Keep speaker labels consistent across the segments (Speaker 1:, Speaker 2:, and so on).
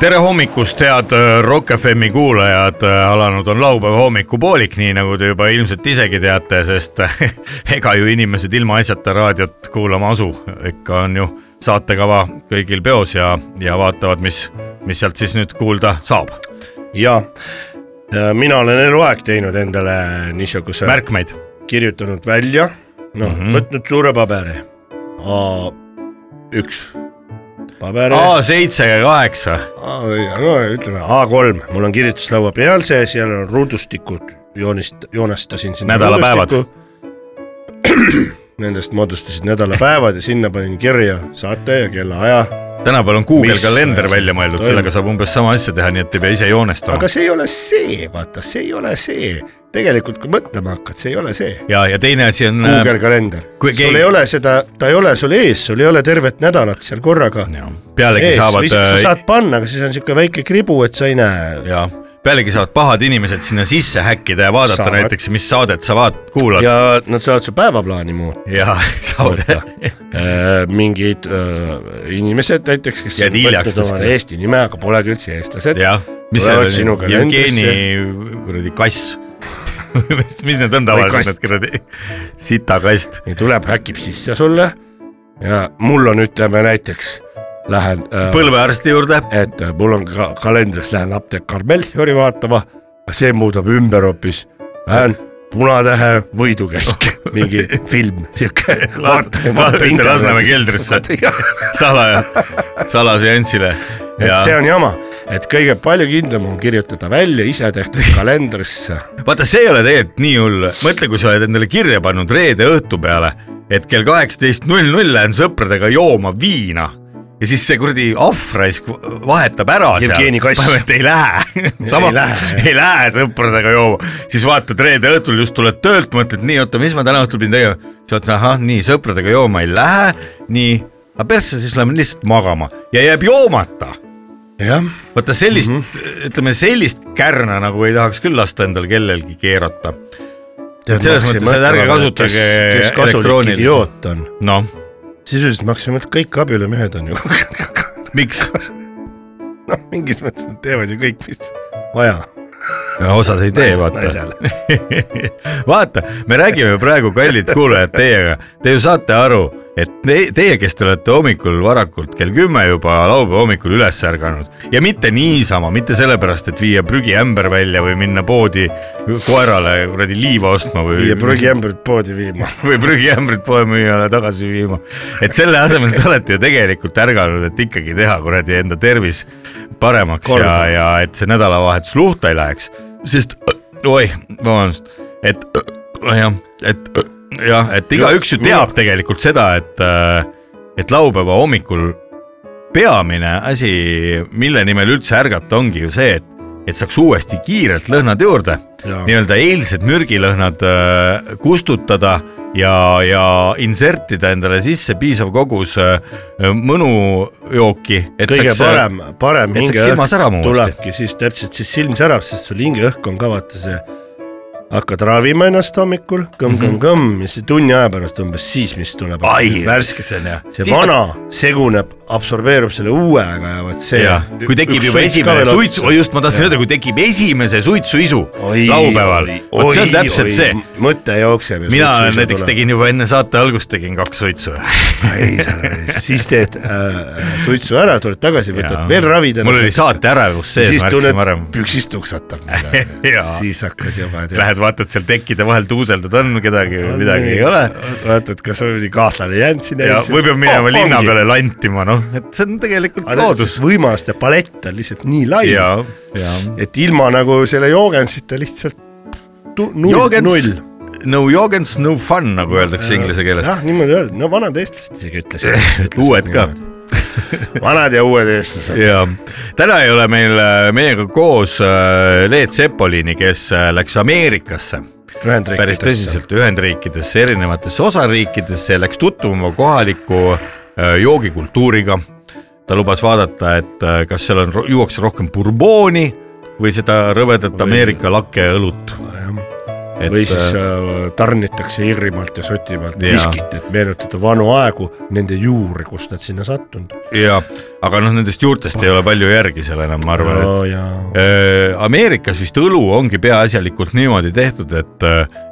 Speaker 1: tere hommikust , head äh, Rock FM-i kuulajad , alanud on laupäeva hommikupoolik , nii nagu te juba ilmselt isegi teate , sest äh, ega ju inimesed ilmaasjata raadiot kuulama asu , ikka on ju saatekava kõigil peos ja , ja vaatavad , mis , mis sealt siis nüüd kuulda saab ,
Speaker 2: ja mina olen eluaeg teinud endale niisuguse Märk.
Speaker 1: märkmeid .
Speaker 2: kirjutanud välja , noh mm -hmm.
Speaker 1: Mhm.
Speaker 2: võtnud suure paberi A üks paberi ,
Speaker 1: A seitse ja kaheksa ,
Speaker 2: no ütleme A kolm , mul on kirjutuslaua peal see , seal on ruudustikud , joonist , joonestasin sinna .
Speaker 1: Nädalapäevad. .
Speaker 2: Nendest moodustasid nädalapäevad ja sinna panin kirja saate ja kellaaja ,
Speaker 1: tänapäeval on Google
Speaker 2: Mis
Speaker 1: kalender
Speaker 2: asi
Speaker 1: välja mõeldud ,
Speaker 2: toimub?
Speaker 1: sellega saab umbes sama asja teha , nii et ei pea ise
Speaker 2: aga
Speaker 1: joonestama .
Speaker 2: see ei ole see , vaata , see ei ole see , tegelikult kui mõtlema hakkad , see ei ole see
Speaker 1: ja , ja teine asi on . äh,
Speaker 2: Google kalender
Speaker 1: Kui .
Speaker 2: sul
Speaker 1: keegi-
Speaker 2: ei ole seda , ta ei ole sul ees , sul ei ole tervet nädalat seal korraga
Speaker 1: pealegi
Speaker 2: ees ,
Speaker 1: saavad
Speaker 2: või siis sa
Speaker 1: äh,
Speaker 2: saad panna , aga siis on niisugune väike kribu , et sa ei näe .
Speaker 1: ja pealegi saavad pahad inimesed sinna sisse häkkida ja vaadata saavad.
Speaker 2: Saavad.
Speaker 1: näiteks , mis saadet sa vaat- , kuulad ja,
Speaker 2: ja nad saavad su päevaplaani muuta .
Speaker 1: ja saavad
Speaker 2: mingid öö, inimesed näiteks , kes
Speaker 1: Jääd
Speaker 2: on
Speaker 1: hiljaks
Speaker 2: võtnud omale
Speaker 1: kuskile.
Speaker 2: Eesti nime , aga polegi üldse eestlased .
Speaker 1: jah , mis
Speaker 2: Tulevad
Speaker 1: see
Speaker 2: sinu
Speaker 1: oli ,
Speaker 2: kalendrisse.
Speaker 1: Jevgeni kuradi kass . mis , mis need on
Speaker 2: Või
Speaker 1: tavaliselt
Speaker 2: kast.
Speaker 1: need kuradi sitakast ,
Speaker 2: ja tuleb , häkib sisse sulle ja mul on , ütleme näiteks , lähen äh, öö,
Speaker 1: põlvearsti juurde ,
Speaker 2: et äh, mul on ka kalendris , lähen apteek Karmelchiori vaatama , see muudab ümber hoopis , lähen Punatähe võidukäik , mingi film , sihuke .
Speaker 1: ühte Lasnamäe keldrisse. salaja , salaseansile
Speaker 2: et
Speaker 1: ja
Speaker 2: see on jama , et kõige palju kindlam on kirjutada välja ise tehtud kalendrisse .
Speaker 1: vaata , see ei ole tegelikult nii hull , mõtle , kui sa oled endale kirja pannud reede õhtu peale , et kell kaheksateist null null lähen sõpradega jooma viina ja siis see kuradi ahvraisk vahetab ära
Speaker 2: Jevgeni
Speaker 1: seal
Speaker 2: kass. ,
Speaker 1: et ei lähe , sama
Speaker 2: Ei , lähe.
Speaker 1: ei lähe sõpradega jooma , siis vaatad reede õhtul just tuled töölt , mõtled nii , oota , mis ma täna õhtul pidin tegema , siis vaatad ahah , nii sõpradega jooma ei lähe , nii , aga persse , siis lähme lihtsalt magama ja jääb joomata
Speaker 2: jah ,
Speaker 1: vaata sellist mm , -hmm. ütleme sellist kärna nagu ei tahaks küll lasta endal kellelgi keerata . selles mõttes , et ärge kasutage
Speaker 2: kes kasulik
Speaker 1: elektroonilisi .
Speaker 2: idioot on ,
Speaker 1: noh ,
Speaker 2: sisuliselt maksimalt kõik abielumehed on ju ,
Speaker 1: miks ?
Speaker 2: noh mingis mõttes nad teevad ju kõik , mis vaja .
Speaker 1: osad ei tee , vaata .
Speaker 2: naisele .
Speaker 1: vaata , me räägime praegu , kallid kuulajad , teiega , te ju saate aru , et te- teie , kes te olete hommikul varakult kell kümme juba laupäeva hommikul üles ärganud ja mitte niisama , mitte sellepärast , et viia prügiämber välja või minna poodi koerale kuradi liiva ostma või .
Speaker 2: ja prügiämbrid poodi viima .
Speaker 1: või prügiämbrit poemüüjale tagasi viima . et selle asemel te olete ju tegelikult ärganud , et ikkagi teha kuradi enda tervis paremaks
Speaker 2: Korda.
Speaker 1: ja , ja et see nädalavahetus luhta ei läheks , sest oih , vabandust , et nojah , et jah , et igaüks ju teab tegelikult seda , et , et laupäeva hommikul peamine asi , mille nimel üldse ärgata , ongi ju see , et , et saaks uuesti kiirelt lõhnad juurde nii-öelda eilsed mürgilõhnad öö, kustutada ja , ja insertida endale sisse piisav kogus öö, mõnujooki . äh,
Speaker 2: kõige saaks, parem , parem
Speaker 1: et saaks silma särama uuesti.
Speaker 2: tulebki siis täpselt siis silm särab , sest sul hingeõhk on ka vaata see , hakkad ravima ennast hommikul kõmm-kõmm-kõmm ja see tunni aja pärast umbes siis , mis tuleb
Speaker 1: Mhm. Ai,
Speaker 2: värske ,
Speaker 1: see on hea.
Speaker 2: see vana seguneb , absorbeerub selle uuega ja vot see
Speaker 1: ja . kui tekib juba esimene suitsu , just ma tahtsin öelda , kui tekib esimese suitsuisu laupäeval , vot see on täpselt see .
Speaker 2: mõte jookseb .
Speaker 1: mina olen näiteks tegin juba enne saate algust tegin kaks suitsu .
Speaker 2: ei sa , siis teed äh, suitsu ära , tuled tagasi , võtad veel ravida . nagu
Speaker 1: mul oli saate ärevus sees ,
Speaker 2: siis
Speaker 1: ma ärkasin varem
Speaker 2: tunned , püksist tuksatab midagi
Speaker 1: Jaa.
Speaker 2: siis hakkad juba .
Speaker 1: lähed vaatad seal tekkide vahel tuuseldad , on kedagi või nagu midagi ei ole .
Speaker 2: vaatad , kas sul oli kaaslane jäänud sinna .
Speaker 1: ja või peab minema linna peale lantima , noh , et see on tegelikult loodus
Speaker 2: loodus .. võimaluste palett on lihtsalt nii lai ,
Speaker 1: ja , ja
Speaker 2: et ilma nagu selle joogendsita lihtsalt tu- null ,
Speaker 1: Joogens
Speaker 2: null .,
Speaker 1: no Joogens , no fun , nagu öeldakse inglise keeles .
Speaker 2: jah , niimoodi öeldi , no vanad eestlased isegi ütlesid .
Speaker 1: Uued ka. .
Speaker 2: vanad ja uued eestlased .
Speaker 1: ja täna ei ole meil äh, meiega koos äh, Leet Sepolini , kes äh, läks Ameerikasse päris . tõsiselt Ühendriikidesse , erinevatesse osariikidesse , läks tutvuma kohaliku äh, joogikultuuriga . ta lubas vaadata , et äh, kas seal on , juuakse rohkem burbooni või seda rõvedat Ameerika lakeõlut .
Speaker 2: või siis äh, tarnitakse Iirimaalt ja Šotimaalt
Speaker 1: Jaa.
Speaker 2: viskit , et meenutada vanu aegu , nende juuri , kust nad sinna sattunud .
Speaker 1: ja , aga noh , nendest juurtest ei ole palju järgi seal enam , ma arvan , et
Speaker 2: ja
Speaker 1: Äh, Ameerikas vist õlu ongi peaasjalikult niimoodi tehtud , et ,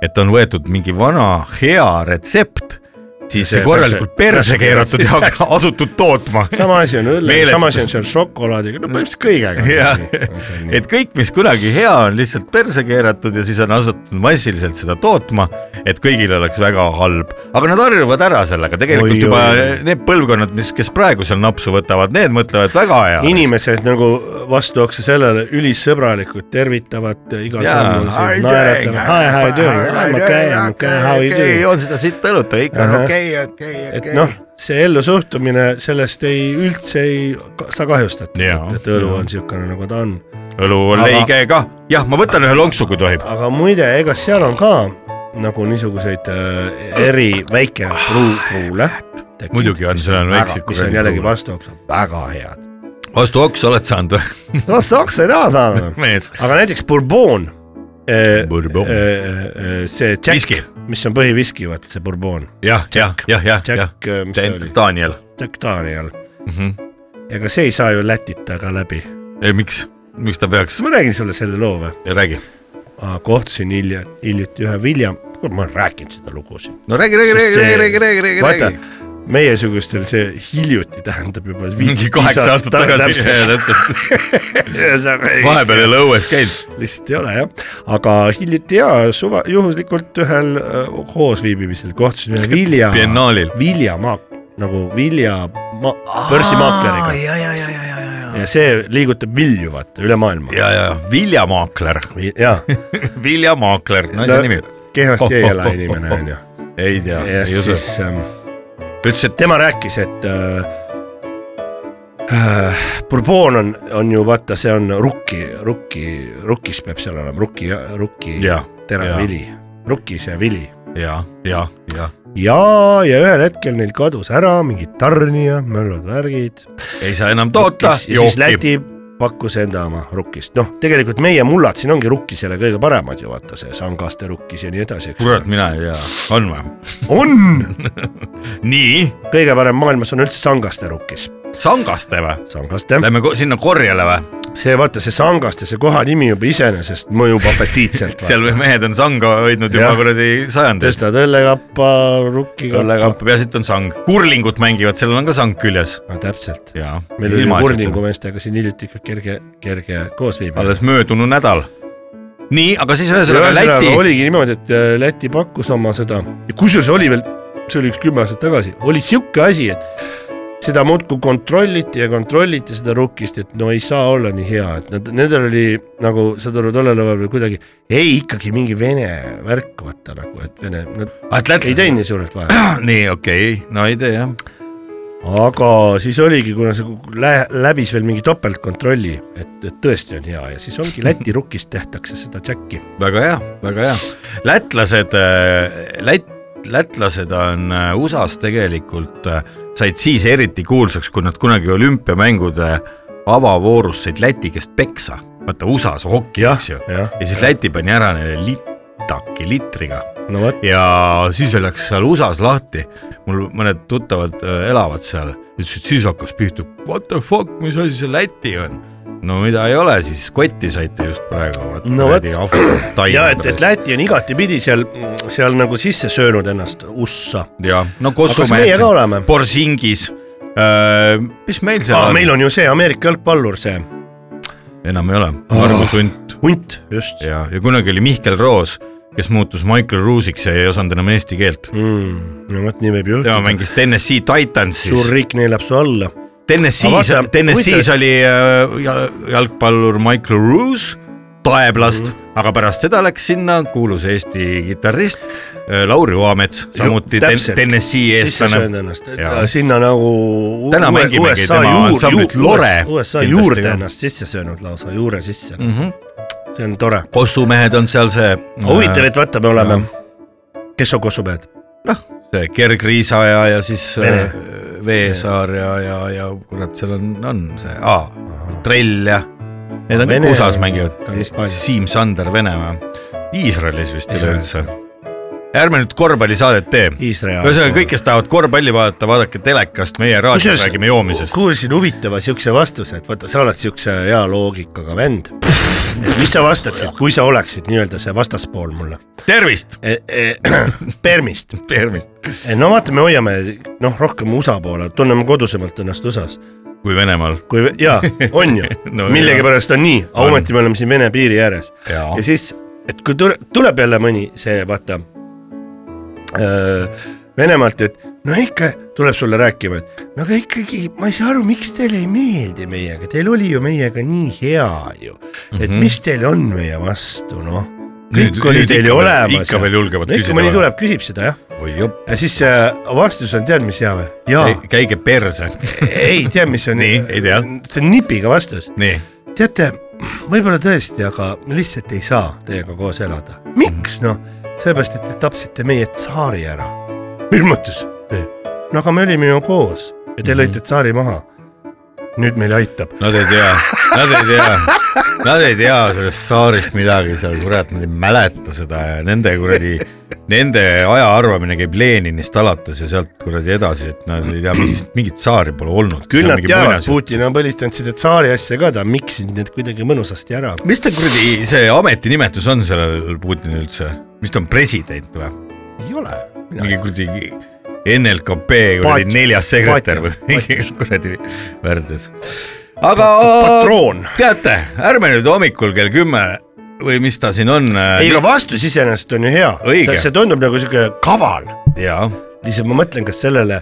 Speaker 1: et on võetud mingi vana hea retsept , siis
Speaker 2: See
Speaker 1: see korralikult
Speaker 2: perse-
Speaker 1: perse keeratud ja asutud tootma .
Speaker 2: sama asi on õllega ,
Speaker 1: Meeletus.
Speaker 2: sama asi on seal šokolaadiga , no põhimõtteliselt kõigega .
Speaker 1: Jaa. et kõik , mis kunagi hea on , lihtsalt perse keeratud ja siis on asutud massiliselt seda tootma , et kõigil oleks väga halb . aga nad harjuvad ära sellega , tegelikult
Speaker 2: Oi,
Speaker 1: oi, juba
Speaker 2: oi,
Speaker 1: oi.
Speaker 2: oi.
Speaker 1: need põlvkonnad , mis , kes praegu seal napsu võtavad , need mõtlevad väga hea .
Speaker 2: inimesed nagu vastu oksa sellele ülisõbralikud tervitavad eh, igal sammul sind , naeratavad , hi , hi , doing , I m okay , I m okay , how you doing .
Speaker 1: on seda siit õlut , kõik on
Speaker 2: Ahah.
Speaker 1: okei , okei ,
Speaker 2: et noh , see ellusuhtumine sellest ei , üldse ei ka- saa kahjustatud ,
Speaker 1: Jaa.
Speaker 2: et, et õlu on niisugune , nagu ta on
Speaker 1: õlu on
Speaker 2: Aga-
Speaker 1: leige ka , jah , ma võtan ühe lonksu , kui tohib .
Speaker 2: aga muide , ega seal on ka nagu niisuguseid äh, eri väike pruu , pruule .
Speaker 1: Ah, muidugi on , seal on väiksed
Speaker 2: mis on jällegi . vastuoksa , väga head .
Speaker 1: vastu oks oled saanud või ,
Speaker 2: vastuoksa ei taha saada .
Speaker 1: mees ?
Speaker 2: aga näiteks Bourbon äh, .
Speaker 1: Bourbon.
Speaker 2: äh, . see Jack
Speaker 1: Viski. ,
Speaker 2: mis on põhiviski , vaata see Bourbon .
Speaker 1: jah , jah , jah , jah , jah .
Speaker 2: Jack , mis ta oli ,
Speaker 1: Daniel . Mhm.
Speaker 2: Jack Daniel . ega see ei saa ju Lätita ka läbi .
Speaker 1: Eh, miks , miks ta peaks ,
Speaker 2: ma räägin sulle selle loo või ?
Speaker 1: räägi .
Speaker 2: kohtusin hilja , hiljuti ühe William , ma olen rääkinud seda lugu siin .
Speaker 1: no räägi , räägi , räägi , räägi , räägi , räägi , räägi ,
Speaker 2: vaata
Speaker 1: räägi .,
Speaker 2: meiesugustel see hiljuti tähendab juba viis-
Speaker 1: mingi kaheksa
Speaker 2: viis
Speaker 1: aastat tagasi , täpselt .
Speaker 2: täpselt .
Speaker 1: vahepeal ei ole õues käinud .
Speaker 2: lihtsalt ei ole jah , aga hiljuti ja suva , juhuslikult ühel äh, koosviibimisel kohtusin ühe Vilja ,
Speaker 1: Biennaalil .
Speaker 2: Viljamaa , nagu Vilja ma- , börsimaakleriga
Speaker 1: ja , ja , ja , ja , ja , ja .
Speaker 2: ja see liigutab vilju vaata üle maailma .
Speaker 1: ja , ja , viljamaakler ,
Speaker 2: jaa ,
Speaker 1: viljamaakler , naise
Speaker 2: No-
Speaker 1: nimi .
Speaker 2: kehvasti ei ela inimene onju .
Speaker 1: ei tea ,
Speaker 2: ja
Speaker 1: ei usu .
Speaker 2: siis ähm,
Speaker 1: ütles , et
Speaker 2: tema rääkis , et äh, äh, Bourbon on , on ju vaata , see on rukki , rukki , rukkis peab seal olema , rukki , rukki
Speaker 1: Jaa,
Speaker 2: terav
Speaker 1: jaa.
Speaker 2: vili , rukkis ja vili .
Speaker 1: ja , ja , ja
Speaker 2: ja , ja ühel hetkel neil kadus ära mingi tarnija , möllud värgid .
Speaker 1: ei saa enam toota ,
Speaker 2: ja siis
Speaker 1: jookib .
Speaker 2: Läti pakkus enda oma rukkist , noh , tegelikult meie mullad siin ongi rukkisele kõige paremad ju vaata see sangaste rukkis ja nii edasi , eks
Speaker 1: kurat , mina ei tea , on või ?
Speaker 2: on ,
Speaker 1: nii ,
Speaker 2: kõige parem maailmas on üldse sangaste rukkis ,
Speaker 1: Sangaste või ?
Speaker 2: sangaste .
Speaker 1: Lähme ko- sinna korjele või ?
Speaker 2: see vaata see sangaste , see koha nimi juba iseenesest mõjub apetiitselt .
Speaker 1: seal või- mehed on sanga hoidnud juba
Speaker 2: Jah.
Speaker 1: kuradi sajandeid .
Speaker 2: tõstad õllekappa , rukkikappa .
Speaker 1: õllekappa , peaasi , et on sang . kurlingut mängivad , sellel on ka sang küljes .
Speaker 2: no täpselt ,
Speaker 1: jaa .
Speaker 2: meil oli kurningu meestega siin hiljuti ikka kerge , kerge koosviibimine .
Speaker 1: alles möödunud nädal . nii , aga siis ühesõnaga
Speaker 2: ühesõnaga
Speaker 1: Läti .
Speaker 2: oligi niimoodi , et äh, Läti pakkus oma seda ja kusjuures oli veel , see oli üks kümme aastat tagasi , oli sihuke asi , et seda muudkui kontrolliti ja kontrolliti seda rukkist , et no ei saa olla nii hea , et nad , nendel oli nagu , saad aru , tollel ajal veel kuidagi , ei ikkagi mingi vene värk , vaata nagu , et vene , nad ei
Speaker 1: Ah, lätlased .
Speaker 2: teinud nii suurelt vahet ,
Speaker 1: nii , okei okay. , no ei tee jah .
Speaker 2: aga siis oligi , kuna see lä- läbis veel mingi topeltkontrolli , et , et tõesti on hea ja siis ongi Läti rukist tehtakse seda džäkki .
Speaker 1: väga hea , väga hea . lätlased , lät- , lätlased on äh, USA-s tegelikult , said siis eriti kuulsaks , kui nad kunagi olümpiamängude avavoorus said Läti käest peksa . vaata USA-s hoki , eks ju .
Speaker 2: jah ,
Speaker 1: ja siis Läti pani ära neile litaki litriga
Speaker 2: no vot ,
Speaker 1: ja siis veel läks seal USA-s lahti , mul mõned tuttavad äh, elavad seal , ütles , et siis hakkas pihta , what the fuck , mis asi see Läti on ? no mida ei ole siis , kotti saite just praegu , vaat
Speaker 2: No
Speaker 1: kuradi ahvud
Speaker 2: ja et , et
Speaker 1: taimedest .
Speaker 2: Läti on igatipidi seal , seal nagu sisse söönud ennast ussa .
Speaker 1: ja no
Speaker 2: aga kas meie
Speaker 1: Kosomees
Speaker 2: ka , oleme ?
Speaker 1: Borsingis , Äh, mis meil seal
Speaker 2: aa ,
Speaker 1: on
Speaker 2: meil , on ju see Ameerika jalgpallur , see
Speaker 1: enam ei ole ,
Speaker 2: Ah.
Speaker 1: Arvo Sunt
Speaker 2: hunt , just .
Speaker 1: ja , ja kunagi oli Mihkel Roos , kes muutus Michael Roosiks ja ei osanud enam eesti keelt .
Speaker 2: Mm, no vot , nii võib
Speaker 1: tema
Speaker 2: juhtuda .
Speaker 1: mängis Tennessee Titansis
Speaker 2: suur . riik neelab su alla .
Speaker 1: TNS-is
Speaker 2: Aga vaata, ,
Speaker 1: TNS-is
Speaker 2: huvitav-
Speaker 1: oli äh, ja- jalgpallur Michael Roos Taeblast mm ,
Speaker 2: Mhm.
Speaker 1: -hmm. aga pärast seda läks sinna kuulus Eesti kitarrist äh, Lauri Oamets , samuti ten,
Speaker 2: täpselt.
Speaker 1: Tennessee eestlane .
Speaker 2: ennast , et
Speaker 1: Jaa.
Speaker 2: ta sinna nagu
Speaker 1: Täna
Speaker 2: uue-
Speaker 1: mängimegi
Speaker 2: USA
Speaker 1: tema
Speaker 2: juur-
Speaker 1: ansamblit
Speaker 2: ju-
Speaker 1: Lore
Speaker 2: USA
Speaker 1: kindlasti
Speaker 2: juurde
Speaker 1: ka.
Speaker 2: ennast sisse söönud lausa , juure sisse ,
Speaker 1: Mm -hmm.
Speaker 2: see on tore .
Speaker 1: kossumehed on seal see .
Speaker 2: huvitav , et vaata , me oleme , kes on Kossumehed ?
Speaker 1: noh , see Gergriisa ja , ja siis äh,
Speaker 2: Vene.
Speaker 1: Veesaar ja , ja , ja kurat , seal on , on see ah, Trell ja . Need on kõik
Speaker 2: Vene-
Speaker 1: USA-s mängivad
Speaker 2: ta on Hispaanias. .
Speaker 1: Siim Sander Venemaa , Iisraelis vist
Speaker 2: Iisraelis,
Speaker 1: üleüldse . ärme nüüd korvpallisaadet tee .
Speaker 2: Iisrael .
Speaker 1: ühesõnaga kõik , kes tahavad korvpalli vaadata , vaadake telekast , meie raadios
Speaker 2: Kusjuures-
Speaker 1: räägime joomisest .
Speaker 2: kuulsin huvitava siukse vastuse , et vaata , sa oled siukse hea loogikaga vend . et mis sa vastaksid , kui sa oleksid nii-öelda see vastaspool mulle
Speaker 1: tervist ,
Speaker 2: e ? E Permist .
Speaker 1: tervist .
Speaker 2: no vaata , me hoiame noh , rohkem USA poole , tunneme kodusemalt ennast USA-s ,
Speaker 1: kui Venemaal .
Speaker 2: kui jaa , on ju
Speaker 1: No
Speaker 2: no, , millegipärast on nii , aga
Speaker 1: On.
Speaker 2: ometi me oleme siin Vene piiri ääres .
Speaker 1: jaa
Speaker 2: ja siis , et kui tule, tuleb jälle mõni see vaata äh, Venemaalt , et no ikka tuleb sulle rääkima , et no aga ikkagi ma ei saa aru , miks teile ei meeldi meiega , teil oli ju meiega nii hea ju , et mm -hmm. mis teil on meie vastu , noh . kõik
Speaker 1: Mhm. Nüüd-
Speaker 2: nüüd, oli
Speaker 1: nüüd
Speaker 2: teil
Speaker 1: ikka
Speaker 2: ju
Speaker 1: veel-
Speaker 2: olemas .
Speaker 1: ikka veel julgevad
Speaker 2: küsida .
Speaker 1: küsida
Speaker 2: ikka mõni
Speaker 1: või?
Speaker 2: tuleb , küsib seda jah ,
Speaker 1: oi jupp ,
Speaker 2: ja siis äh, vastus on , tead mis hea või ? jaa ,
Speaker 1: käige perse .
Speaker 2: ei tea , mis on .
Speaker 1: Nii, ei tea.
Speaker 2: see on nipiga vastus .
Speaker 1: nii ,
Speaker 2: teate , võib-olla tõesti , aga me lihtsalt ei saa teiega koos elada . miks noh , sellepärast , et te tapsite meie tsaari ära . hirmutus . no aga me olime ju koos ja
Speaker 1: Mhm.
Speaker 2: te lõite tsaari maha . nüüd meil aitab .
Speaker 1: nad ei tea , nad ei tea , nad ei tea sellest saarist midagi seal , kurat , nad ei mäleta seda ja nende kuradi , nende aja arvamine käib Leninist alates ja sealt kuradi edasi , et nad ei tea , mingit , mingit tsaari pole olnud .
Speaker 2: küll nad teavad , Putin on põlistanud seda tsaari asja ka , ta on miksinud need kuidagi mõnusasti ära .
Speaker 1: mis ta kuradi , see ametinimetus on sellel Putinil üldse , mis ta on , president või ?
Speaker 2: ei ole .
Speaker 1: mingi kuradi NLKP kuradi
Speaker 2: Paat-
Speaker 1: neljas sekretär või
Speaker 2: paat-
Speaker 1: mingi kuradi värdjas . aga
Speaker 2: patroon .
Speaker 1: teate , ärme nüüd hommikul kell kümme või mis ta siin on . äh,
Speaker 2: ei , aga vastus iseenesest on ju hea
Speaker 1: Õige. .
Speaker 2: see tundub nagu siuke kaval .
Speaker 1: jaa ,
Speaker 2: lihtsalt ma mõtlen , kas sellele ,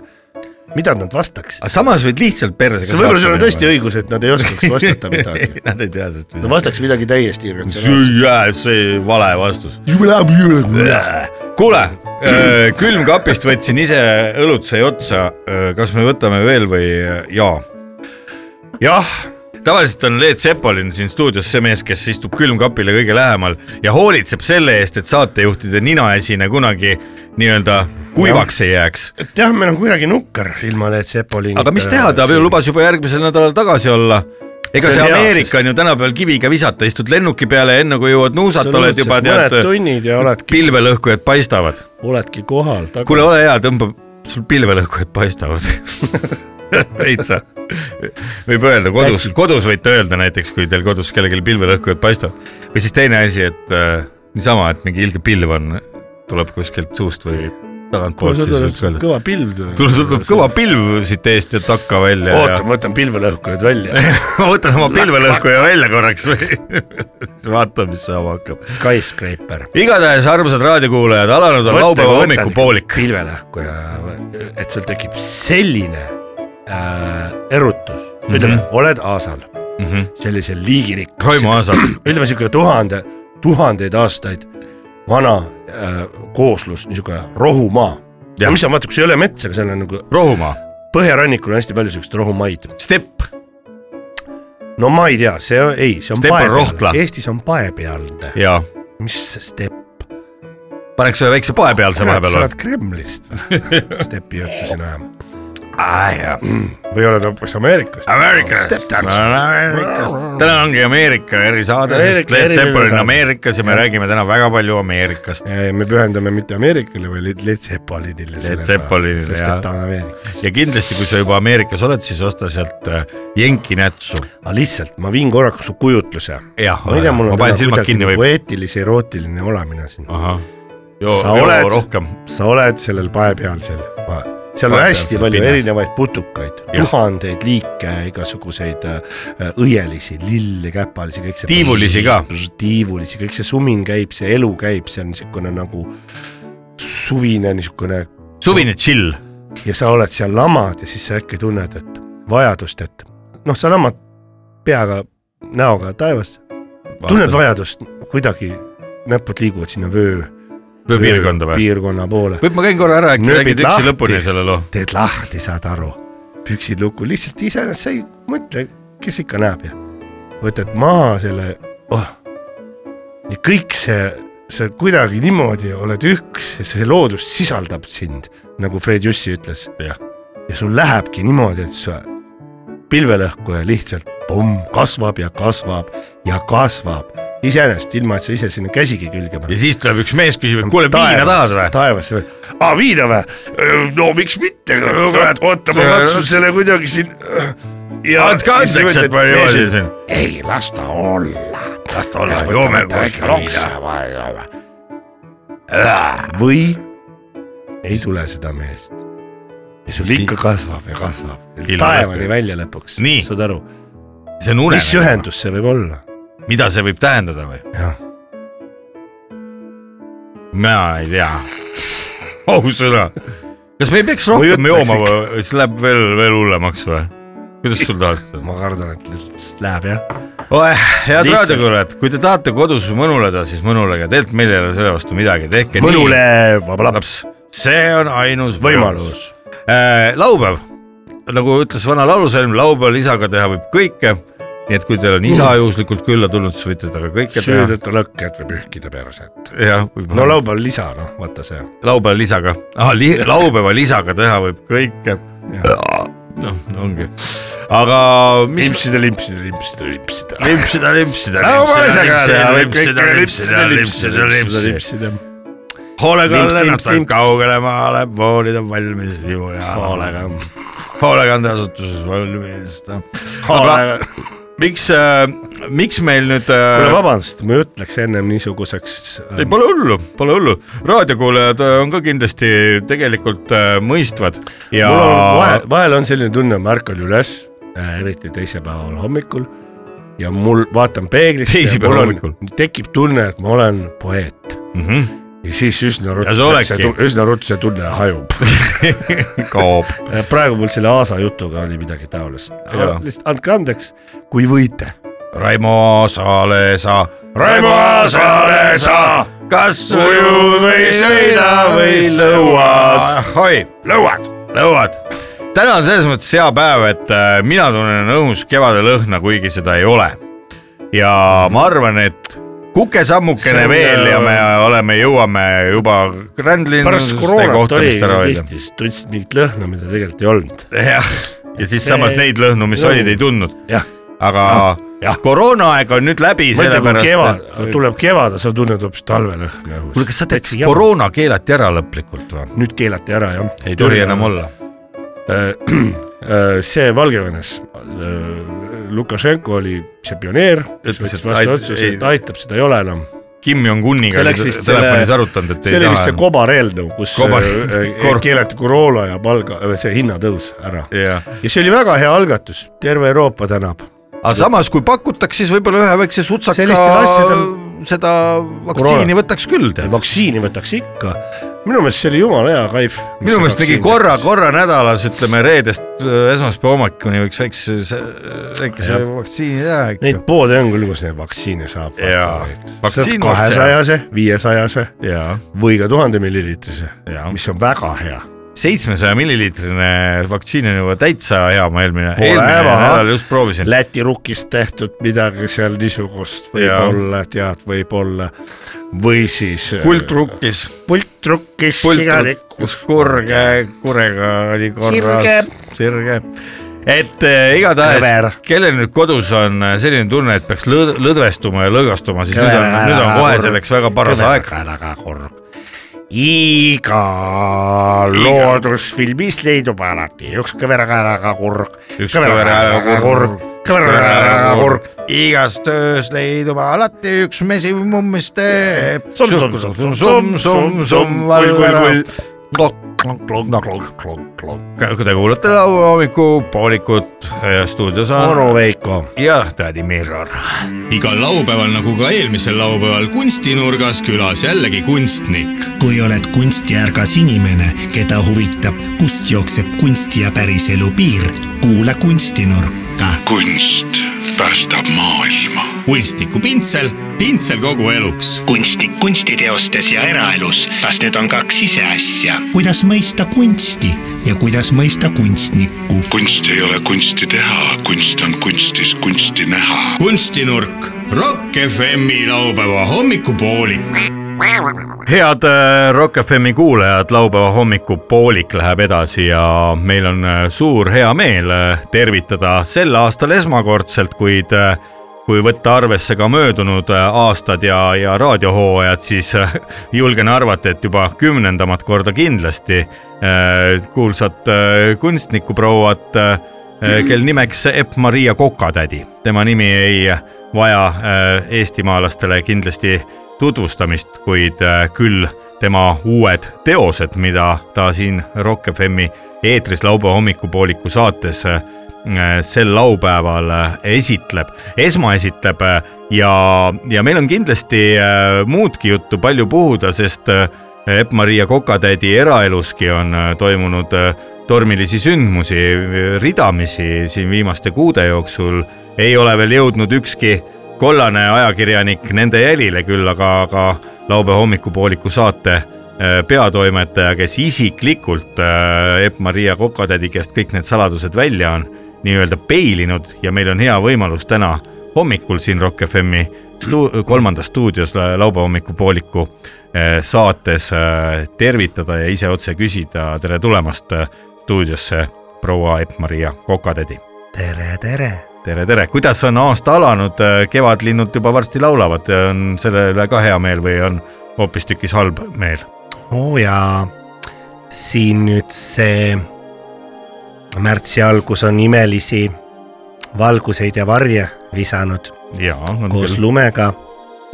Speaker 2: mida nad vastaksid .
Speaker 1: aga samas võid lihtsalt persega .
Speaker 2: see võib-olla sul on tõesti . õigus , et nad ei oskaks vastata midagi .
Speaker 1: Nad ei tea sellest
Speaker 2: no
Speaker 1: midagi .
Speaker 2: vastaks midagi täiesti
Speaker 1: see ,
Speaker 2: irratsionaalset .
Speaker 1: see vale vastus . kuule , külmkapist võtsin ise õlut sai otsa , kas me võtame veel või äh, jaa ? jah . tavaliselt on Leet Sepolin siin stuudios see mees , kes istub külmkapile kõige lähemal ja hoolitseb selle eest , et saatejuhtide ninaesine kunagi nii-öelda kuivaks ei jääks .
Speaker 2: et jah , meil on kuidagi nukker ilma Leet Sepoliinita .
Speaker 1: aga mis teha , ta ju . lubas juba järgmisel nädalal tagasi olla . ega
Speaker 2: äh, See
Speaker 1: see
Speaker 2: on hea,
Speaker 1: Ameerika
Speaker 2: sest-
Speaker 1: on ju tänapäeval kiviga visata , istud lennuki peale , enne kui jõuad nuusata , oled juba tead
Speaker 2: mõned , tunnid ja oledki ,
Speaker 1: pilvelõhkujad paistavad .
Speaker 2: oledki kohal
Speaker 1: kuule ,
Speaker 2: tagasi .
Speaker 1: ole hea , tõmba , sul pilvelõhkujad paistavad . täitsa , võib öelda kodus , kodus võite öelda näiteks , kui teil kodus kellelgi pilvelõhkujad paistavad . või siis teine asi , et äh, niisama , et mingi ilge pilv on , tuleb kuskilt suust või tagantpoolt , siis võib öelda .
Speaker 2: kõva pilv tuleb .
Speaker 1: sul tuleb kõva pilv siit eest ja takka välja ja
Speaker 2: oota , ma võtan pilvelõhkujad välja .
Speaker 1: ma võtan oma pilvelõhkuja välja korraks või siis vaatame , mis saama hakkab .
Speaker 2: Skyscraper .
Speaker 1: igatahes , armsad raadiokuulajad , alanud on laupäeva hommikupoolik .
Speaker 2: pilvelõhkuja , et sul tekib selline äh, erutus , ütleme mm , -hmm. oled aasal mm ,
Speaker 1: Mhm.
Speaker 2: -hmm. sellise liigirikk ,
Speaker 1: Raimo Aasal ,
Speaker 2: ütleme sihuke tuhande , tuhandeid aastaid vana äh, kooslus , niisugune rohumaa .
Speaker 1: Jah.
Speaker 2: ja mis on , vaata , kui sul ei ole metsa , aga seal on nagu
Speaker 1: Rohumaa ,
Speaker 2: põhjarannikul on hästi palju siukseid rohumaid .
Speaker 1: Stepp ,
Speaker 2: no ma ei tea , see on- ei , see on
Speaker 1: Stepan Rohtla.
Speaker 2: paepealne , Eestis on paepealne ,
Speaker 1: jaa ,
Speaker 2: mis see stepp ,
Speaker 1: paneks ühe väikse pae peal sa
Speaker 2: sa
Speaker 1: vahepeal või ?
Speaker 2: oled Kremlist , stepi juttu siin ajama .
Speaker 1: aa jaa ,
Speaker 2: või oled hoopis Ameerikast ?
Speaker 1: Ameerikast , Ameerikast , täna ongi Ameerika erisaade , sest
Speaker 2: Ameerika
Speaker 1: Leet Seppel on
Speaker 2: erisaade.
Speaker 1: Ameerikas ja me räägime täna väga palju Ameerikast
Speaker 2: me pühendame mitte Ameerikale , vaid Leet Sepolinile .
Speaker 1: Led Zeppelinile,
Speaker 2: sest
Speaker 1: jah.
Speaker 2: et ta on Ameerikas .
Speaker 1: ja kindlasti , kui sa juba Ameerikas oled , siis osta sealt äh, jenki nätsu .
Speaker 2: aga lihtsalt ma viin korraks su kujutluse .
Speaker 1: jah ,
Speaker 2: ma ei tea , mul
Speaker 1: ma
Speaker 2: on
Speaker 1: panen silmad kinni Ah. või ?
Speaker 2: poeetilise , erootiline olemine siin .
Speaker 1: ahah ,
Speaker 2: Sa
Speaker 1: joo , joo
Speaker 2: oled-
Speaker 1: rohkem .
Speaker 2: sa oled sellel pae peal seal , seal on
Speaker 1: Pae peal,
Speaker 2: hästi
Speaker 1: seal
Speaker 2: palju
Speaker 1: pinnas.
Speaker 2: pinnas. erinevaid putukaid ,
Speaker 1: Jah.
Speaker 2: tuhandeid liike , igasuguseid äh, äh, õielisi , lilli , käpalisi , kõik see .
Speaker 1: Tiivulisi ka. .
Speaker 2: tiivulisi , kõik see sumin käib , see elu käib , see on niisugune nagu suvine niisugune
Speaker 1: suvine chill
Speaker 2: ja sa oled seal lamad ja siis sa äkki tunned , et vajadust , et noh , sa lamad peaga , näoga taevasse , tunned vajadust , kuidagi näpud liiguvad sinna vöö ,
Speaker 1: piirkonda või ?
Speaker 2: piirkonna poole ,
Speaker 1: võib ma käin korra ära , äkki
Speaker 2: Nööbid
Speaker 1: räägid üksi
Speaker 2: lahti.
Speaker 1: lõpuni oh. selle loo ?
Speaker 2: teed lahti , saad aru , püksid lukku , lihtsalt iseenesest sa ei mõtle , kes ikka näeb ja võtad maha selle , oh . ja kõik see , sa kuidagi niimoodi oled üks ja see loodus sisaldab sind , nagu Fred Jüssi ütles .
Speaker 1: Jah.
Speaker 2: ja sul lähebki niimoodi , et sa pilvelõhkuja lihtsalt pomm kasvab ja kasvab ja kasvab iseenesest ilma , et sa ise sinna käsigi külge paned .
Speaker 1: ja siis tuleb üks mees , küsib ,
Speaker 2: Nagu
Speaker 1: et kuule , viina tahad või ?
Speaker 2: taevasse või ? aa , viina või ? no miks mitte , oota , ma katsun selle kuidagi siin .
Speaker 1: andke andeks , et ma niimoodi siin .
Speaker 2: ei , las ta olla .
Speaker 1: las ta olla , joome koos viina .
Speaker 2: Äh, või ei tule seda meest . ja sul ikka kasvab ja kasvab .
Speaker 1: Ilma
Speaker 2: taevani
Speaker 1: lõpuni.
Speaker 2: välja lõpuks
Speaker 1: Nii. ,
Speaker 2: saad aru ,
Speaker 1: see on une
Speaker 2: mis . ühendus see võib olla ?
Speaker 1: mida see võib tähendada või ?
Speaker 2: jah ,
Speaker 1: mina ei tea . ausõna . kas me ei peaks rohkem
Speaker 2: ütleks
Speaker 1: jooma või , siis läheb veel , veel hullemaks või ? kuidas sul tahad seda ?
Speaker 2: ma kardan , et lihtsalt läheb jah .
Speaker 1: oeh , Oh, eh, head
Speaker 2: Lihtsalt.
Speaker 1: raadiokuulajad , kui te tahate kodus mõnuleda , siis mõnulege , tegelikult meil ei ole selle vastu midagi , tehke
Speaker 2: mõnule vaba laps ,
Speaker 1: nii . see on ainus
Speaker 2: võimalus .
Speaker 1: Äh, laupäev , nagu ütles vana laulusalm , laupäeval isaga teha võib kõike . nii et kui teil on isa juhuslikult külla tulnud , siis võite temaga kõike teha .
Speaker 2: söödetu lõkked või pühkida perset .
Speaker 1: jah ,
Speaker 2: no laupäeval lisa , noh , vaata see .
Speaker 1: laupäeval isaga ah, , li laupäeval isaga teha võib kõike .
Speaker 2: Jah.
Speaker 1: noh , ongi , aga mis .
Speaker 2: limpsida , limpsida , limpsida , limpsida .
Speaker 1: limpsida , limpsida , limpsida , limpsida , limpsida , limpsida , hoolega
Speaker 2: Limps, limps,
Speaker 1: lennata
Speaker 2: limps.
Speaker 1: kaugele maale , voolid on valmis , vibu ja hoolega , hoolekandeasutuses valmis . aga miks , miks meil nüüd
Speaker 2: kuule ,
Speaker 1: äh, ,
Speaker 2: vabandust , ma ei ütleks ennem niisuguseks äh,
Speaker 1: ei . pole hullu , pole hullu , raadiokuulajad äh, on ka kindlasti tegelikult äh, mõistvad ja
Speaker 2: mul on vahel , vahel on selline tunne , ma ärkan üles , äh, eriti teisipäeval hommikul ja mul , vaatan peeglisse ,
Speaker 1: Teisipäeva
Speaker 2: mul
Speaker 1: hommikul.
Speaker 2: on , tekib tunne , et ma olen poeet
Speaker 1: mm -hmm,
Speaker 2: ja siis üsna
Speaker 1: Ja
Speaker 2: ruttu
Speaker 1: sa
Speaker 2: see,
Speaker 1: oledki.
Speaker 2: see , üsna ruttu see tunne hajub .
Speaker 1: kaob .
Speaker 2: Äh, praegu mul selle Aasa jutuga oli midagi taolist , aga
Speaker 1: Jaa.
Speaker 2: lihtsalt andke andeks , kui võite
Speaker 1: Raimo Saalesa .
Speaker 2: Raimo Saalesa,
Speaker 1: kas
Speaker 2: uju või sõida või lõuad? ?
Speaker 1: oi , lõuad , lõuad . täna on selles mõttes hea päev , et äh, mina tunnen õhus kevade lõhna , kuigi seda ei ole . ja ma arvan , et kukesammukene
Speaker 2: See on,
Speaker 1: veel ja me
Speaker 2: äh,
Speaker 1: oleme , jõuame juba Grand
Speaker 2: pärast
Speaker 1: Linnaste
Speaker 2: koroonat oli
Speaker 1: kohtumist ära hoida .
Speaker 2: tihti , siis tundsid mingit lõhna , mida tegelikult ei olnud .
Speaker 1: jah , ja siis
Speaker 2: See-
Speaker 1: samas neid lõhnu , mis
Speaker 2: Lõhnu.
Speaker 1: olid , ei tundnud ,
Speaker 2: jah ,
Speaker 1: aga
Speaker 2: jah.
Speaker 1: koroonaaeg on nüüd läbi ,
Speaker 2: mõtle kui kevad
Speaker 1: sellepärast , et
Speaker 2: tuleb kevad ja sa tunned hoopis talvelõhna
Speaker 1: kuule ,
Speaker 2: õhus .
Speaker 1: kas sa tead , kas koroona keelati ära lõplikult või ?
Speaker 2: nüüd keelati ära jah .
Speaker 1: ei tohi enam . olla .
Speaker 2: Äh, see Valgevenes , Lukašenko oli see pioneer , kes
Speaker 1: Ütles,
Speaker 2: võttis
Speaker 1: et
Speaker 2: vastu
Speaker 1: ait-
Speaker 2: otsuse
Speaker 1: ei- ,
Speaker 2: et aitab , seda ei ole enam .
Speaker 1: Kim Jong-uniga
Speaker 2: See
Speaker 1: oli
Speaker 2: läks vist
Speaker 1: telefonis
Speaker 2: selle-
Speaker 1: arutanud , et
Speaker 2: see
Speaker 1: ei
Speaker 2: oli
Speaker 1: taha
Speaker 2: vist see . kobareelnõu , kus
Speaker 1: Kobar-
Speaker 2: äh, äh,
Speaker 1: kor-
Speaker 2: keelati koroona ja palga , see hinnatõus ära .
Speaker 1: jah ,
Speaker 2: ja see oli väga hea algatus , terve Euroopa tänab
Speaker 1: aga samas , kui pakutakse , siis võib-olla ühe väikse sutsaka
Speaker 2: Sellistel asjadel-
Speaker 1: seda vaktsiini
Speaker 2: Koroona.
Speaker 1: võtaks küll , tead .
Speaker 2: vaktsiini võtaks ikka , minu meelest see oli jumala hea kaif .
Speaker 1: minu meelest mingi korra , korra nädalas , ütleme reedest äh, esmaspäeva hommikuni võiks väikse , väikese
Speaker 2: Jah.
Speaker 1: vaktsiini teha
Speaker 2: Neid
Speaker 1: ikka .
Speaker 2: poode on küll , kus neid vaktsiine saab .
Speaker 1: Jaa. Vaktsiin otse.
Speaker 2: kahesajase , viiesajase
Speaker 1: jaa ,
Speaker 2: või ka tuhande milliliitrise
Speaker 1: Jaa. ,
Speaker 2: mis on väga hea .
Speaker 1: seitsmesaja milliliitrine vaktsiin on juba täitsa hea , ma eelmine ,
Speaker 2: Pole
Speaker 1: eelmine
Speaker 2: häma.
Speaker 1: nädal just proovisin .
Speaker 2: Läti rukist tehtud midagi seal niisugust võib-olla , tead , võib-olla või siis . äh,
Speaker 1: kuldrukkis ,
Speaker 2: pultrukkis ,
Speaker 1: kuldrukkis , kurge , kurega oli
Speaker 2: Sirge.
Speaker 1: korras , sirge . et äh, igatahes
Speaker 2: Kõver. ,
Speaker 1: kellel nüüd kodus on äh, selline tunne , et peaks lõd- lõdvestuma ja lõõgastuma , siis nüüd on , nüüd on kohe selleks väga paras aeg .
Speaker 2: aeg . iga loodusfilmis leidub alati üks kõverakaelaga kurg .
Speaker 1: Üks kõverakaelaga kurg.
Speaker 2: kõverakaelaga kurg .
Speaker 1: igas töös leidub alati üks mesi , mis teeb . Noh, kui te kuulate laupäeva hommikupoolikut , stuudios on
Speaker 2: onu Veiko .
Speaker 1: ja tädi Mirror .
Speaker 3: igal laupäeval nagu ka eelmisel laupäeval Kunstinurgas külas jällegi kunstnik .
Speaker 4: kui oled kunstiärgas inimene , keda huvitab , kust jookseb kunsti ja päriselu piir , kuula kunstinurka
Speaker 5: kunst päästab maailma .
Speaker 3: kunstnikupintsel , pintsel kogu eluks .
Speaker 4: kunstnik kunstiteostes ja eraelus , kas need on kaks ise asja ?
Speaker 2: kuidas mõista kunsti ja kuidas mõista kunstnikku .
Speaker 5: kunst ei ole kunsti teha , kunst on kunstis kunsti näha .
Speaker 3: kunstinurk , Rock FM-i laupäeva hommikupoolik .
Speaker 1: head äh, Rock FM-i kuulajad , laupäeva hommikupoolik läheb edasi ja meil on äh, suur hea meel äh, tervitada sel aastal esmakordselt , kuid äh, kui võtta arvesse ka möödunud äh, aastad ja , ja raadiohooajad , siis äh, julgen arvata , et juba kümnendamat korda kindlasti äh, kuulsat äh, kunstnikuprouat äh, , kel nimeks Epp-Maria Kokatädi . tema nimi ei vaja äh, eestimaalastele kindlasti tutvustamist , kuid äh, küll tema uued teosed , mida ta siin Rock FM-i eetris laupäeva hommikupooliku saates äh, sel laupäeval äh, esitleb , esmaesitleb äh, ja , ja meil on kindlasti äh, muudki juttu palju puhuda , sest äh, Epp-Maria Kokatädi eraeluski on äh, toimunud äh, tormilisi sündmusi äh, ridamisi siin viimaste kuude jooksul , ei ole veel jõudnud ükski kollane ajakirjanik nende jälile küll , aga , aga laupäeva hommikupooliku saate äh, peatoimetaja , kes isiklikult äh, Epp-Maria Kokatädi käest kõik need saladused välja on nii-öelda peilinud ja meil on hea võimalus täna hommikul siin Rock FM-i stu- , kolmandas stuudios la- laupäeva hommikupooliku äh, saates äh, tervitada ja ise otse küsida tere tulemast äh, stuudiosse proua Epp-Maria Kokatädi
Speaker 2: tere , tere .
Speaker 1: tere , tere , kuidas on aasta alanud , Kevadlinnud juba varsti laulavad , on selle üle ka hea meel või on hoopistükkis halb meel ?
Speaker 2: oo jaa , Oh, siin nüüd see märtsi algus on imelisi valguseid ja varje visanud
Speaker 1: jaa , on
Speaker 2: koos
Speaker 1: küll .
Speaker 2: lumega ,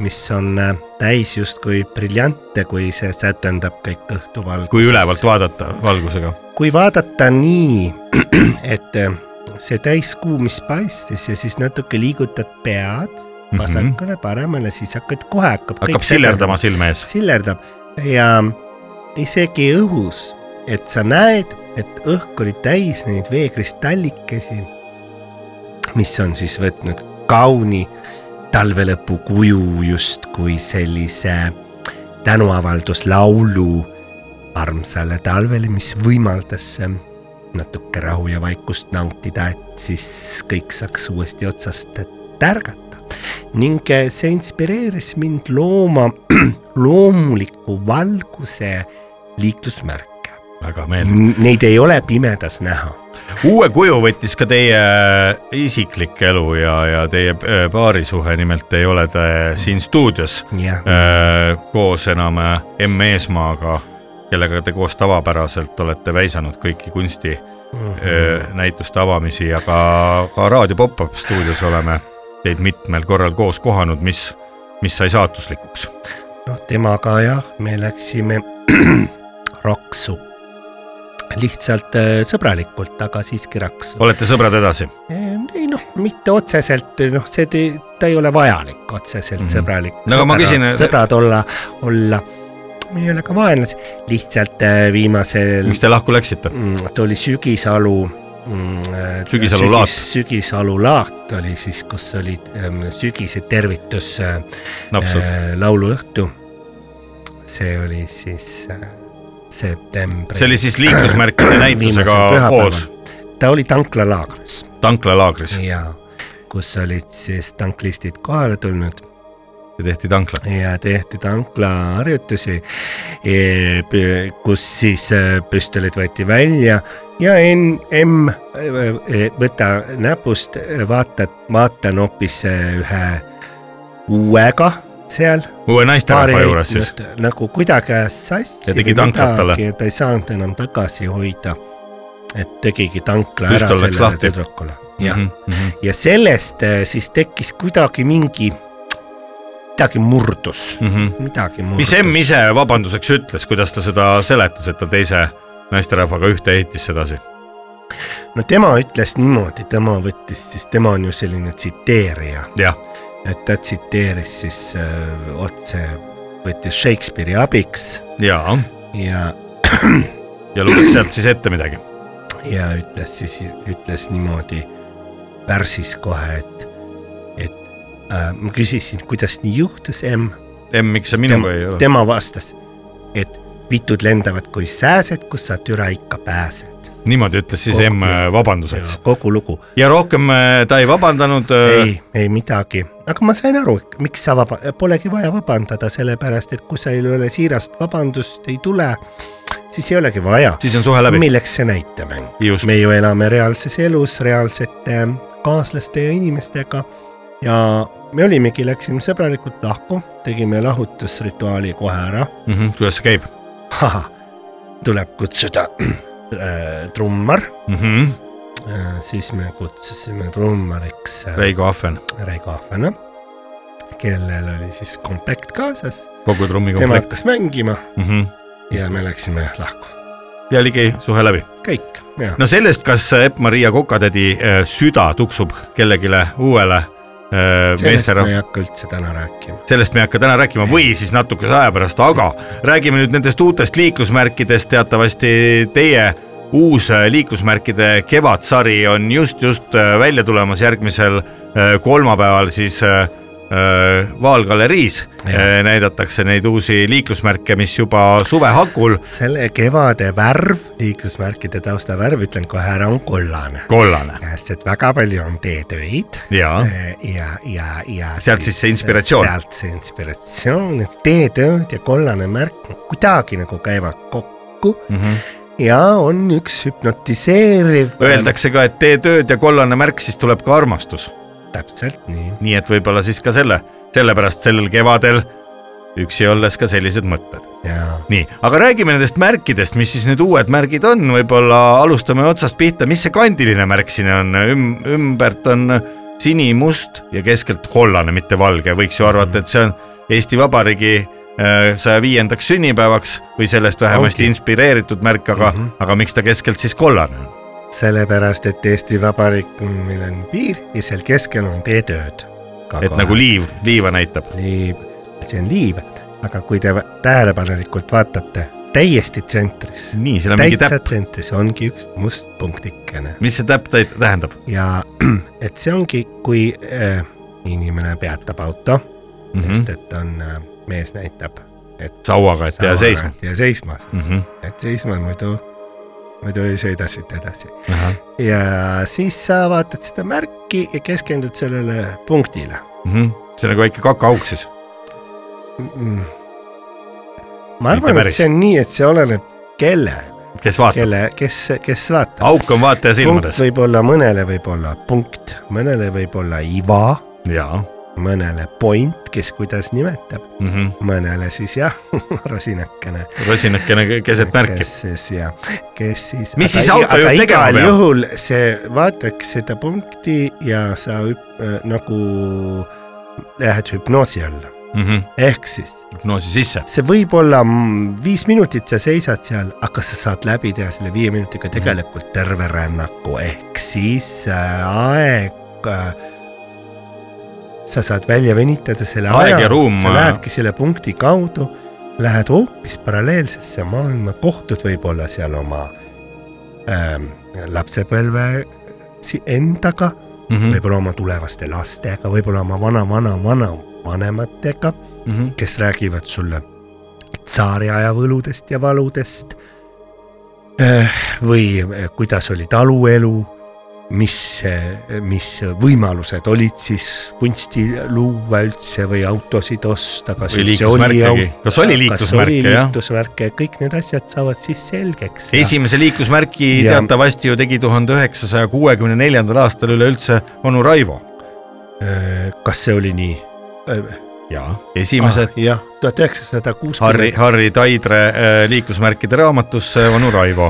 Speaker 2: mis on äh, täis justkui briljante , kui see sätendab kõik õhtuvalguses .
Speaker 1: kui ülevalt vaadata valgusega .
Speaker 2: kui vaadata nii , et äh, see täiskuu , mis paistis ja siis natuke liigutad pead
Speaker 1: Mhm.
Speaker 2: vasakule mm -hmm. , paremale , siis hakkad kohe hakkab .
Speaker 1: hakkab sillerdama . silme ees .
Speaker 2: sillerdab ja isegi õhus , et sa näed , et õhk oli täis neid veekristallikesi , mis on siis võtnud kauni talve lõpu kuju justkui sellise tänuavalduslaulu armsale talvele , mis võimaldas ähm, natuke rahu ja vaikust nautida , et siis kõik saaks uuesti otsast tärgata . ning äh, see inspireeris mind looma loomuliku valguse liiklusmärke .
Speaker 1: väga meeldiv .
Speaker 2: Neid ei ole pimedas näha .
Speaker 1: uue kuju võttis ka teie äh, isiklik elu ja , ja teie äh, paarisuhe , nimelt ei ole te siin stuudios
Speaker 2: jah ,
Speaker 1: äh, koos enam äh, M Eesmaaga , kellega te koos tavapäraselt olete väisanud kõiki kunsti öö, näituste Äh, avamisi ja ka , ka raadio Pop-Up stuudios oleme teid mitmel korral koos kohanud , mis , mis sai saatuslikuks .
Speaker 2: no temaga jah , me läksime raksu . lihtsalt äh, sõbralikult , aga siiski raksu .
Speaker 1: olete sõbrad edasi ?
Speaker 2: ei noh , mitte otseselt , noh , see , ta ei ole vajalik otseselt
Speaker 1: Mhm.
Speaker 2: mm -hmm. sõbralik .
Speaker 1: No aga ma küsin-
Speaker 2: sõbrad olla , olla , me ei ole ka vaenlased , lihtsalt äh, viimasel
Speaker 1: miks te lahku läksite ?
Speaker 2: mm, ta oli Sügisalu mm, .
Speaker 1: Sügisalu laat.
Speaker 2: Sügisalu laat oli siis , kus oli ähm, sügise tervitus äh,
Speaker 1: napsult .
Speaker 2: lauluõhtu . see oli siis äh, septembri .
Speaker 1: see oli siis liiklusmärkide näitusega koos .
Speaker 2: ta oli tanklalaagris
Speaker 1: tanklalaagris
Speaker 2: ja kus olid siis tanklistid kohale tulnud
Speaker 1: ja tehti tankla .
Speaker 2: ja tehti tanklaharjutusi , kus siis eh, püstolid võeti välja ja N , M , e, võta näpust , vaata , vaatan hoopis eh, ühe uuega seal .
Speaker 1: uue naisterahva juures siis .
Speaker 2: nagu kuidagi ajas sassi .
Speaker 1: Ja tegi tanklat talle.
Speaker 2: ta ei saanud enam tagasi hoida . et tegigi tankla ära
Speaker 1: Püstol läks
Speaker 2: sellele
Speaker 1: lahti.
Speaker 2: tüdrukule . jah ,
Speaker 1: Mhm,
Speaker 2: ja sellest eh, siis tekkis kuidagi mingi , midagi murdus midagi muud .
Speaker 1: mhm. mis M ? ise vabanduseks ütles , kuidas ta seda seletas , et ta teise naisterahvaga ühte ehitis sedasi ?
Speaker 2: no tema ütles niimoodi , tema võttis siis , tema on ju selline tsiteerija ,
Speaker 1: jah ,
Speaker 2: et ta tsiteeris siis äh, otse , võttis Shakespeare'i abiks
Speaker 1: ja ,
Speaker 2: ja ,
Speaker 1: ja luges sealt siis ette midagi .
Speaker 2: ja ütles siis , ütles niimoodi värsis kohe , et , et ma küsisin , kuidas nii juhtus , emm .
Speaker 1: emm , miks sa
Speaker 2: tema
Speaker 1: minuga ei , ole ?
Speaker 2: tema vastas , et vitud lendavad kui sääsed , kus sa türa ikka pääsed .
Speaker 1: niimoodi ütles siis emm äh, vabanduseks
Speaker 2: kogu lugu ,
Speaker 1: ja rohkem äh, ta ei vabandanud .
Speaker 2: ei , ei midagi , aga ma sain aru , miks sa vaba- , polegi vaja vabandada , sellepärast et kui sa ei ole siirast vabandust ei tule , siis ei olegi vaja .
Speaker 1: siis on suhe läbi .
Speaker 2: milleks see näitemäng ?
Speaker 1: just ,
Speaker 2: me ju elame reaalses elus reaalsete kaaslaste ja inimestega ja me olimegi , läksime sõbralikult lahku , tegime lahutusrituaali kohe ära .
Speaker 1: Mhm, kuidas see käib
Speaker 2: tuleb kutsuda äh, trummar ,
Speaker 1: mm ? -hmm.
Speaker 2: siis me kutsusime trummariks äh,
Speaker 1: Reigo Ahven ,
Speaker 2: Reigo Ahvena , kellel oli siis komplekt kaasas ,
Speaker 1: kogu
Speaker 2: tema
Speaker 1: trummikomplekt
Speaker 2: hakkas mängima
Speaker 1: mm . -hmm.
Speaker 2: ja me läksime lahku ,
Speaker 1: ja ligi suhe läbi .
Speaker 2: kõik ja no.
Speaker 1: no sellest , kas Epp-Maria Kokatädi äh, süda tuksub kellelegi uuele äh,
Speaker 2: sellest ma
Speaker 1: meesterahvale ,
Speaker 2: ei hakka üldse täna rääkima .
Speaker 1: sellest me ei hakka täna rääkima või siis natukese aja pärast , aga räägime nüüd nendest uutest liiklusmärkidest , teatavasti teie uus äh, liiklusmärkide kevadsari on just , just äh, välja tulemas järgmisel äh, kolmapäeval siis äh, äh, Vaalgaleriis äh, näidatakse neid uusi liiklusmärke , mis juba suve hakul
Speaker 2: selle kevade värv , liiklusmärkide taustavärv , ütlen kohe ära , on kollane .
Speaker 1: kollane
Speaker 2: sest et väga palju on teetöid
Speaker 1: ja
Speaker 2: ja , ja , ja .
Speaker 1: Ah. Sealt siis see inspiratsioon.
Speaker 2: sealt see inspiratsioon , et teetööd ja kollane märk kuidagi nagu käivad kokku
Speaker 1: mm . -hmm.
Speaker 2: ja on üks hüpnotiseeriv .
Speaker 1: Öeldakse ka , et tee tööd ja kollane märk , siis tuleb ka armastus .
Speaker 2: täpselt nii .
Speaker 1: nii et võib-olla siis ka selle , sellepärast sellel kevadel üksi olles ka sellised mõtted .
Speaker 2: ja
Speaker 1: nii , aga räägime nendest märkidest , mis siis need uued märgid on , võib-olla alustame otsast pihta , mis see kandiline märk siin on Üm, , ümbert on sinimust ja keskelt kollane , mitte valge , võiks ju arvata , et see on Eesti Vabariigi äh, saja viiendaks sünnipäevaks või sellest vähemasti
Speaker 2: Ongi.
Speaker 1: inspireeritud märk , aga mm , -hmm. aga miks ta keskelt siis kollane on ?
Speaker 2: sellepärast , et Eesti Vabariik , meil on piir ja seal keskel on teetööd .
Speaker 1: et nagu liiv , liiva näitab .
Speaker 2: liiv , see on liiv , aga kui te va- tähelepanelikult vaatate , täiesti tsentris ,
Speaker 1: nii , seal on mingi
Speaker 2: täitsa
Speaker 1: täpp ,
Speaker 2: tsentris ongi üks must punktikene
Speaker 1: mis see täpp täit- tähendab
Speaker 2: ja et see ongi , kui äh, inimene peatab auto mm ,
Speaker 1: mm ?
Speaker 2: -hmm. sest
Speaker 1: -hmm.
Speaker 2: et on äh, , mees näitab , et
Speaker 1: sauaga , et jää seisma .
Speaker 2: ja seisma ,
Speaker 1: Mm -hmm.
Speaker 2: et seisma muidu , muidu ei sõida siit edasi . ja siis sa vaatad seda märki ja keskendud sellele punktile
Speaker 1: Mm -hmm. see on nagu väike kakaauk siis .
Speaker 2: mm. . ma arvan , et
Speaker 1: päris.
Speaker 2: see on nii , et see oleneb kellel ,
Speaker 1: kes vaatab ,
Speaker 2: kelle , kes , kes vaatab .
Speaker 1: auk on vaataja
Speaker 2: punkt
Speaker 1: silmades .
Speaker 2: võib olla mõnele võib-olla punkt , mõnele võib-olla iva ,
Speaker 1: jaa
Speaker 2: mõnele point , kes kuidas nimetab ,
Speaker 1: mm -hmm. ,
Speaker 2: mõnele siis jah , rosinakene .
Speaker 1: rosinakene keset märki .
Speaker 2: kes siis ja , kes siis .
Speaker 1: Mis siis autojuht tegema peab?
Speaker 2: juhul see , vaataks seda punkti ja sa hüp- äh, nagu lähed hüpnoosi alla , ehk siis
Speaker 1: Mhm. hüpnoosi sisse .
Speaker 2: see võib olla mm, viis minutit , sa seisad seal , aga sa saad läbi teha selle viie
Speaker 1: Mhm.
Speaker 2: minutiga tegelikult terve rännaku , ehk siis äh, aeg äh, . sa saad välja venitada selle
Speaker 1: Aeg
Speaker 2: aja
Speaker 1: ja , ruum,
Speaker 2: sa
Speaker 1: äh,
Speaker 2: lähedki selle punkti kaudu , lähed hoopis paralleelsesse maailma , kohtud võib-olla seal oma ähm, lapsepõlve si- endaga võib-olla oma tulevaste lastega , võib-olla oma vana-vana-vana-vanematega kes räägivad sulle tsaariaja võludest ja valudest Eh, või eh, kuidas oli taluelu , mis , mis võimalused olid siis kunsti luua üldse või autosid osta , kas
Speaker 1: Või
Speaker 2: üldse oli
Speaker 1: liiklusmärkegi. Kas oli liiklusmärke, jah?
Speaker 2: liiklusmärke , kõik need asjad saavad siis selgeks .
Speaker 1: esimese liiklusmärki
Speaker 2: Ja-
Speaker 1: teatavasti ju tegi tuhande üheksasaja kuuekümne neljandal aastal üleüldse onu Raivo .
Speaker 2: Eh, kas see oli nii ?
Speaker 1: jaa , esimesed ah,
Speaker 2: jah , tuhat üheksasada
Speaker 1: Harri ,
Speaker 2: kuuskümmend .
Speaker 1: Harri Taidre äh, liiklusmärkide raamatusse onu Raivo .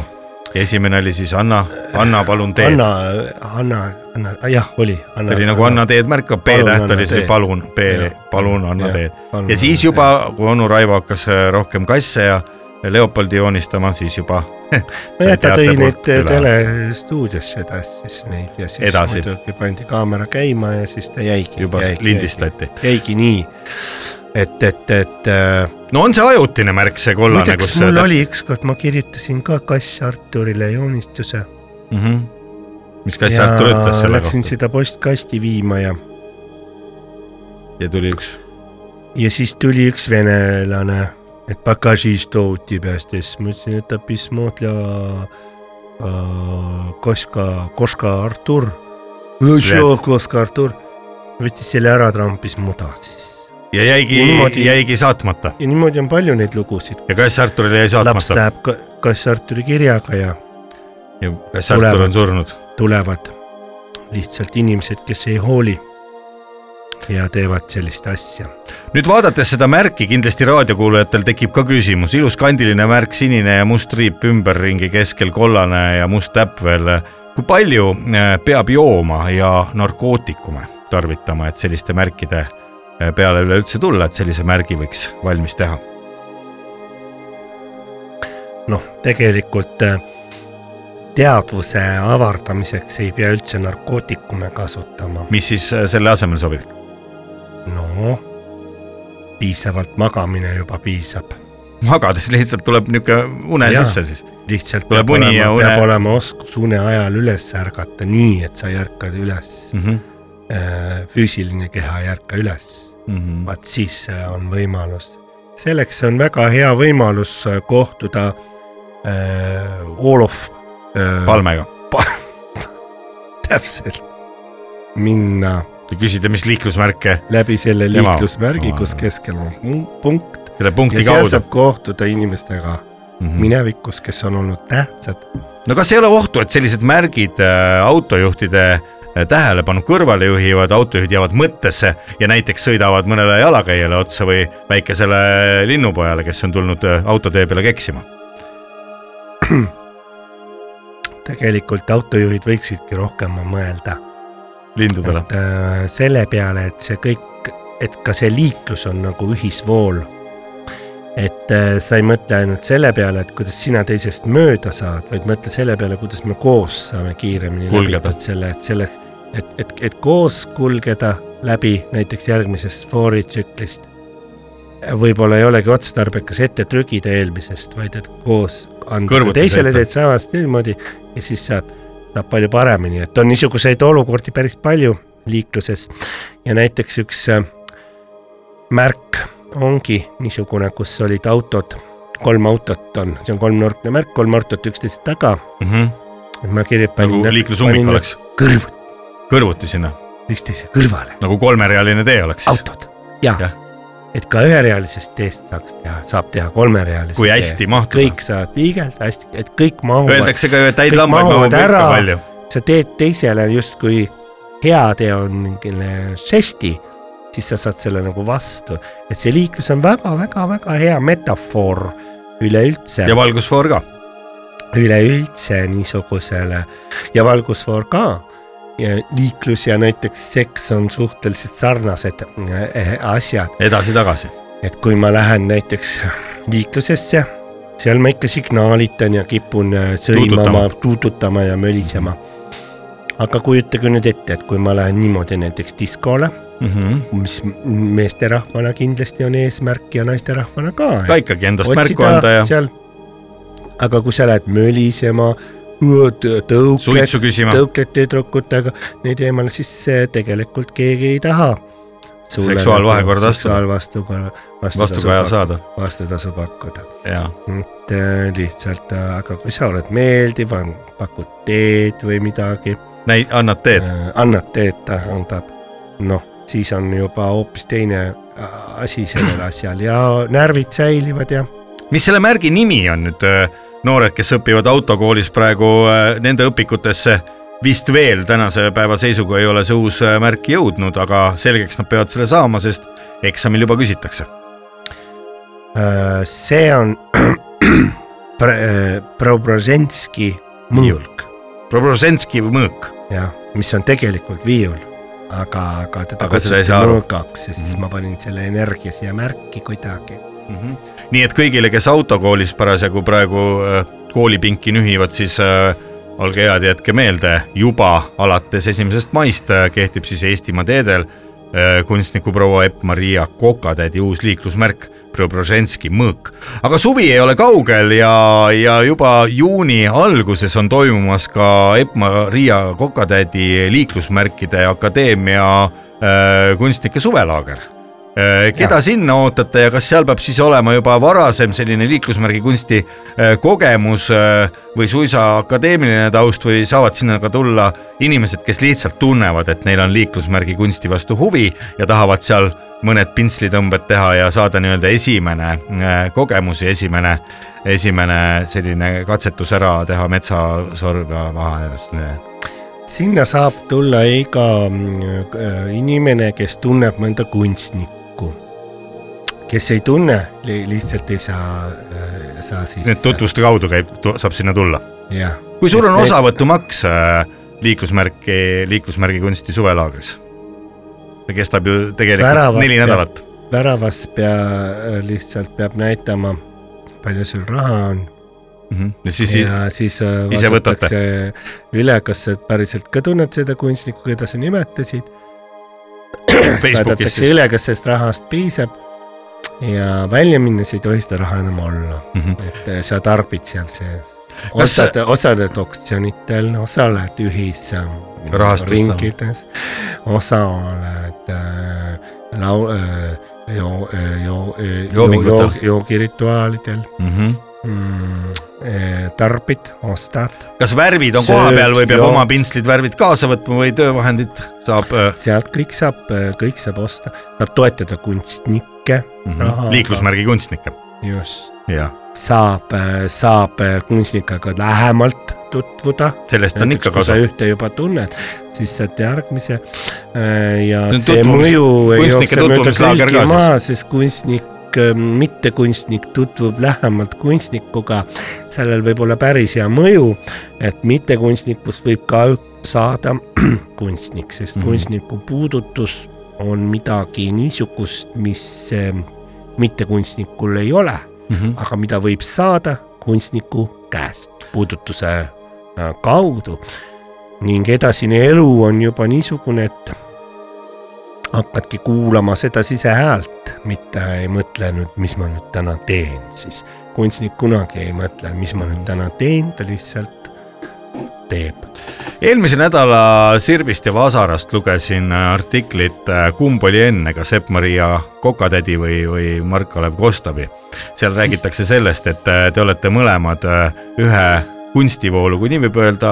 Speaker 1: esimene oli siis Anna , Anna palun teed .
Speaker 2: Anna , Anna , Anna , jah , oli .
Speaker 1: see oli nagu Anna teed märk , aga
Speaker 2: Palun,
Speaker 1: P-täht
Speaker 2: anna
Speaker 1: oli see
Speaker 2: teed.
Speaker 1: palun , P
Speaker 2: Jah. ,
Speaker 1: palun anna
Speaker 2: Jah,
Speaker 1: teed .
Speaker 2: palun,
Speaker 1: ja siis
Speaker 2: anna
Speaker 1: juba , kui onu Raivo hakkas äh, rohkem kasse ja Leopoldi joonistama , siis juba
Speaker 2: nojah , ta tõi
Speaker 1: teate
Speaker 2: neid
Speaker 1: poolt üle.
Speaker 2: telestuudiosse edasi siis neid ja siis
Speaker 1: Edasi.
Speaker 2: muidugi pandi kaamera käima ja siis ta jäigi .
Speaker 1: juba
Speaker 2: jäigi,
Speaker 1: lindistati .
Speaker 2: jäigi, . jäigi nii , et , et , et äh,
Speaker 1: no on see ajutine märk , see kollane ,
Speaker 2: muideks
Speaker 1: kus
Speaker 2: mul oli ükskord , ma kirjutasin ka kass Arturile joonistuse .
Speaker 1: mm . -hmm. mis kass Artur ütles selle
Speaker 2: Läksin
Speaker 1: kohta ?
Speaker 2: seda postkasti viima ja
Speaker 1: ja tuli üks
Speaker 2: ja siis tuli üks venelane , et pakaži что у тебя здесь , ma ütlesin , et ta pismotla koska , koska Artur . koska Artur võttis selle ära , trampis mu taha siis .
Speaker 1: ja jäigi
Speaker 2: Niimoodi- ,
Speaker 1: jäigi saatmata
Speaker 2: ja niimoodi on palju neid lugusid .
Speaker 1: ja Kass Arturile jäi
Speaker 2: laps
Speaker 1: saatmata
Speaker 2: läheb ka- Kass Arturi kirjaga ja
Speaker 1: ja Kass Artur
Speaker 2: tulevad.
Speaker 1: on surnud .
Speaker 2: tulevad lihtsalt inimesed , kes ei hooli ja teevad sellist asja .
Speaker 1: nüüd vaadates seda märki , kindlasti raadiokuulajatel tekib ka küsimus , ilus kandiline märk , sinine ja must riip ümberringi keskel , kollane ja must täpp veel . kui palju äh, peab jooma ja narkootikume tarvitama , et selliste märkide äh, peale üleüldse tulla , et sellise märgi võiks valmis teha ?
Speaker 2: noh , tegelikult äh, teadvuse avardamiseks ei pea üldse narkootikume kasutama .
Speaker 1: mis siis äh, selle asemel sobib ?
Speaker 2: no piisavalt magamine juba piisab .
Speaker 1: magades lihtsalt tuleb niisugune une
Speaker 2: Jaa.
Speaker 1: ja. sisse siis .
Speaker 2: lihtsalt
Speaker 1: Tuleb
Speaker 2: peab
Speaker 1: uni ja
Speaker 2: olema,
Speaker 1: une-
Speaker 2: peab olema oskus une ajal üles ärgata nii , et sa ei ärka üles ,
Speaker 1: Mm -hmm.
Speaker 2: füüsiline keha ei ärka üles
Speaker 1: mm -hmm.
Speaker 2: vaat siis äh, on võimalus . selleks on väga hea võimalus äh, kohtuda äh, Olof äh,
Speaker 1: palmega .
Speaker 2: täpselt , minna
Speaker 1: küsida , mis liiklusmärke
Speaker 2: läbi selle
Speaker 1: Tema.
Speaker 2: liiklusmärgi , kus
Speaker 1: Aa.
Speaker 2: keskel on pun- punkt
Speaker 1: selle
Speaker 2: ja
Speaker 1: punkti
Speaker 2: seal
Speaker 1: kaudu .
Speaker 2: saab kohtuda inimestega
Speaker 1: Mm
Speaker 2: minevikus , kes on olnud tähtsad .
Speaker 1: no kas ei ole ohtu , et sellised märgid äh, autojuhtide äh, tähelepanu kõrvale juhivad , autojuhid jäävad mõttesse ja näiteks sõidavad mõnele jalakäijale otsa või väikesele äh, linnupojale , kes on tulnud äh, autotee peale keksima .
Speaker 2: tegelikult autojuhid võiksidki rohkem mõelda
Speaker 1: lindudele .
Speaker 2: et äh, selle peale , et see kõik , et ka see liiklus on nagu ühisvool . et äh, sa ei mõtle ainult selle peale , et kuidas sina teisest mööda saad , vaid mõtle selle peale , kuidas me koos saame kiiremini
Speaker 1: Kulgeda.
Speaker 2: läbitud selle , et selleks , et , et , et koos kulgeda läbi näiteks järgmisest fooritsüklist . võib-olla ei olegi otstarbekas ette trügida eelmisest , vaid et koos anda
Speaker 1: Kõrvuti
Speaker 2: teisele
Speaker 1: sõita.
Speaker 2: teed samast niimoodi ja siis saab , saab palju paremini , et on niisuguseid olukordi päris palju liikluses ja näiteks üks äh, märk ongi niisugune , kus olid autod , kolm autot on , see on kolmnurkne märk , kolm autot üksteist taga , et ma kirja panin
Speaker 1: Mhm. nagu
Speaker 2: nad-
Speaker 1: liiklusummik
Speaker 2: panin nad
Speaker 1: oleks ,
Speaker 2: kõrv- ,
Speaker 1: kõrvuti sinna ,
Speaker 2: üksteise kõrvale ,
Speaker 1: nagu kolmerealine tee oleks ,
Speaker 2: autod ja, ja.
Speaker 1: Jah.
Speaker 2: et ka üherealisest teest saaks teha , saab teha kolmerealise .
Speaker 1: kui hästi . mahtuda .
Speaker 2: kõik saavad liigelda hästi , et kõik mahuvad
Speaker 1: Öeldakse ka ju , et häid
Speaker 2: Kõik
Speaker 1: lambaid
Speaker 2: mahuvad
Speaker 1: mahub ikka
Speaker 2: ära.
Speaker 1: palju .
Speaker 2: sa teed teisele justkui heateo on mingile žesti , siis sa saad selle nagu vastu , et see liiklus on väga-väga-väga hea metafoor üleüldse
Speaker 1: ja , valgusfoor ka .
Speaker 2: üleüldse niisugusele ja valgusfoor ka . ja liiklus ja näiteks seks on suhteliselt sarnased äh, asjad ,
Speaker 1: edasi-tagasi .
Speaker 2: et kui ma lähen näiteks liiklusesse , seal ma ikka signaalitan ja kipun äh, sõimama , tuututama ja mölisema . aga kujutage nüüd ette , et kui ma lähen niimoodi näiteks diskole ,
Speaker 1: Mhm.
Speaker 2: mis m- meesterahvana kindlasti on eesmärk ja naisterahvana ka .
Speaker 1: ka ikkagi endast märku anda ja
Speaker 2: seal . aga kui sa lähed mölisema , tõukled ,
Speaker 1: suitsu küsima .
Speaker 2: tõukled tüdrukutega , neid eemale , siis äh, tegelikult keegi ei taha .
Speaker 1: Seksuaalvahekorda astuda.
Speaker 2: seksuaalvastukorra ,
Speaker 1: vastukaja
Speaker 2: vastutasu ,
Speaker 1: saada .
Speaker 2: vastutasu pakkuda .
Speaker 1: jaa .
Speaker 2: et äh, lihtsalt , aga kui sa oled meeldiv , pakud teed või midagi ,
Speaker 1: näi- , annad teed mm .
Speaker 2: annad teed , ta andab , noh , siis on juba hoopis teine äh, asi sellel asjal ja närvid säilivad ja
Speaker 1: mis selle märgi nimi on nüüd ? noored , kes õpivad autokoolis praegu , nende õpikutesse vist veel tänase päeva seisuga ei ole see uus äh, märk jõudnud , aga selgeks nad peavad selle saama , sest eksamil juba küsitakse .
Speaker 2: äh, see on Pre- äh, Preobrazhenski mõõk ,
Speaker 1: Probrosenski mõõk ,
Speaker 2: jah , mis on tegelikult viiul , aga , aga teda
Speaker 1: Aga seda ei saa aru. Mhm.
Speaker 2: mõõgaks ja siis ma panin selle energia siia märki kuidagi .
Speaker 1: nii et kõigile , kes autokoolis parasjagu praegu äh, koolipinki nühivad , siis äh, olge head , jätke meelde , juba alates esimesest maist äh, kehtib siis Eestimaa teedel äh, kunstniku proua Epp-Maria Kokatädi uus liiklusmärk , Preobrazhenski mõõk . aga suvi ei ole kaugel ja , ja juba juuni alguses on toimumas ka Epp-Maria Kokatädi liiklusmärkide akadeemia äh, kunstnike suvelaager . Äh, keda ja. sinna ootate ja kas seal peab siis olema juba varasem selline liiklusmärgi kunsti äh, kogemus äh, või suisa akadeemiline taust või saavad sinna ka tulla inimesed , kes lihtsalt tunnevad , et neil on liiklusmärgi kunsti vastu huvi ja tahavad seal mõned pintslitõmbed teha ja saada nii-öelda esimene äh, kogemus ja esimene , esimene selline katsetus ära teha metsasorga vahel .
Speaker 2: sinna saab tulla iga mm, äh, inimene , kes tunneb mõnda kunstnikku . kes ei tunne , lihtsalt ei saa , saa siis .
Speaker 1: nii et . tutvuste kaudu käib , saab sinna tulla .
Speaker 2: jah ,
Speaker 1: kui suur on osavõtumaks äh, liiklusmärki , liiklusmärgi kunsti suvelaagris ? ta kestab ju tegelikult
Speaker 2: Väravas
Speaker 1: neli
Speaker 2: peab-
Speaker 1: nädalat .
Speaker 2: väravas pea , lihtsalt peab näitama , palju sul raha on
Speaker 1: Mhm. ja siis ja.
Speaker 2: ja siis äh,
Speaker 1: ise võtate.
Speaker 2: vaadatakse üle , kas sa päriselt ka tunned seda kunstnikku , keda sa nimetasid .
Speaker 1: Facebookis
Speaker 2: vaadatakse
Speaker 1: siis .
Speaker 2: üle , kas sellest rahast piisab ja välja minnes ei tohi seda raha enam olla . et äh, sa tarbid seal sees .
Speaker 1: Mhm. Kas sa-
Speaker 2: osad , osaled oktsioonitel , osaled ühis- äh,
Speaker 1: Rahastust-
Speaker 2: ringides , osaled äh, lau- äh, , joo- , joo- ,
Speaker 1: Joomingutel.
Speaker 2: joo- , joogirituaalidel
Speaker 1: Mhm.
Speaker 2: mm, , tarbid , ostad ,
Speaker 1: kas värvid on
Speaker 2: Sööd,
Speaker 1: koha peal või peab
Speaker 2: joo.
Speaker 1: oma pintslid värvid kaasa võtma või töövahendid saab äh,
Speaker 2: sealt kõik saab , kõik saab osta , saab toetada kunstnikke ,
Speaker 1: mhm,
Speaker 2: Raha-
Speaker 1: liiklusmärgi kunstnikke ?
Speaker 2: just ,
Speaker 1: jah ,
Speaker 2: saab , saab äh, kunstnikaga lähemalt tutvuda
Speaker 1: sellest on ikka
Speaker 2: kui sa
Speaker 1: kasu .
Speaker 2: ühte juba tunned , siis saad järgmise äh, ja
Speaker 1: See on
Speaker 2: see
Speaker 1: tutvumis-
Speaker 2: mõju ei
Speaker 1: kunstnike
Speaker 2: jookse mööda
Speaker 1: tutvumislaager
Speaker 2: kõiki
Speaker 1: ka
Speaker 2: maha , sest kunstnik , mittekunstnik tutvub lähemalt kunstnikuga , sellel võib olla päris hea mõju , et mittekunstnikust võib ka saada kunstnik , sest
Speaker 1: Mhm.
Speaker 2: kunstniku puudutus on midagi niisugust , mis äh, mittekunstnikul ei ole
Speaker 1: Mhm.
Speaker 2: aga mida võib saada kunstniku käest puudutuse äh, kaudu . ning edasine elu on juba niisugune , et hakkadki kuulama seda sisehäält , mitte ei mõtle nüüd , mis ma nüüd täna teen , siis kunstnik kunagi ei mõtle , mis ma nüüd täna teen , ta lihtsalt teeb .
Speaker 1: eelmise nädala Sirbist ja Vasarast lugesin äh, artiklit äh, Kumb oli enne , kas Epp-Maria Kokatädi või , või Mark-Kalev Kostabi . seal räägitakse sellest , et äh, te olete mõlemad äh, ühe kunstivoolu , kui nii võib öelda ,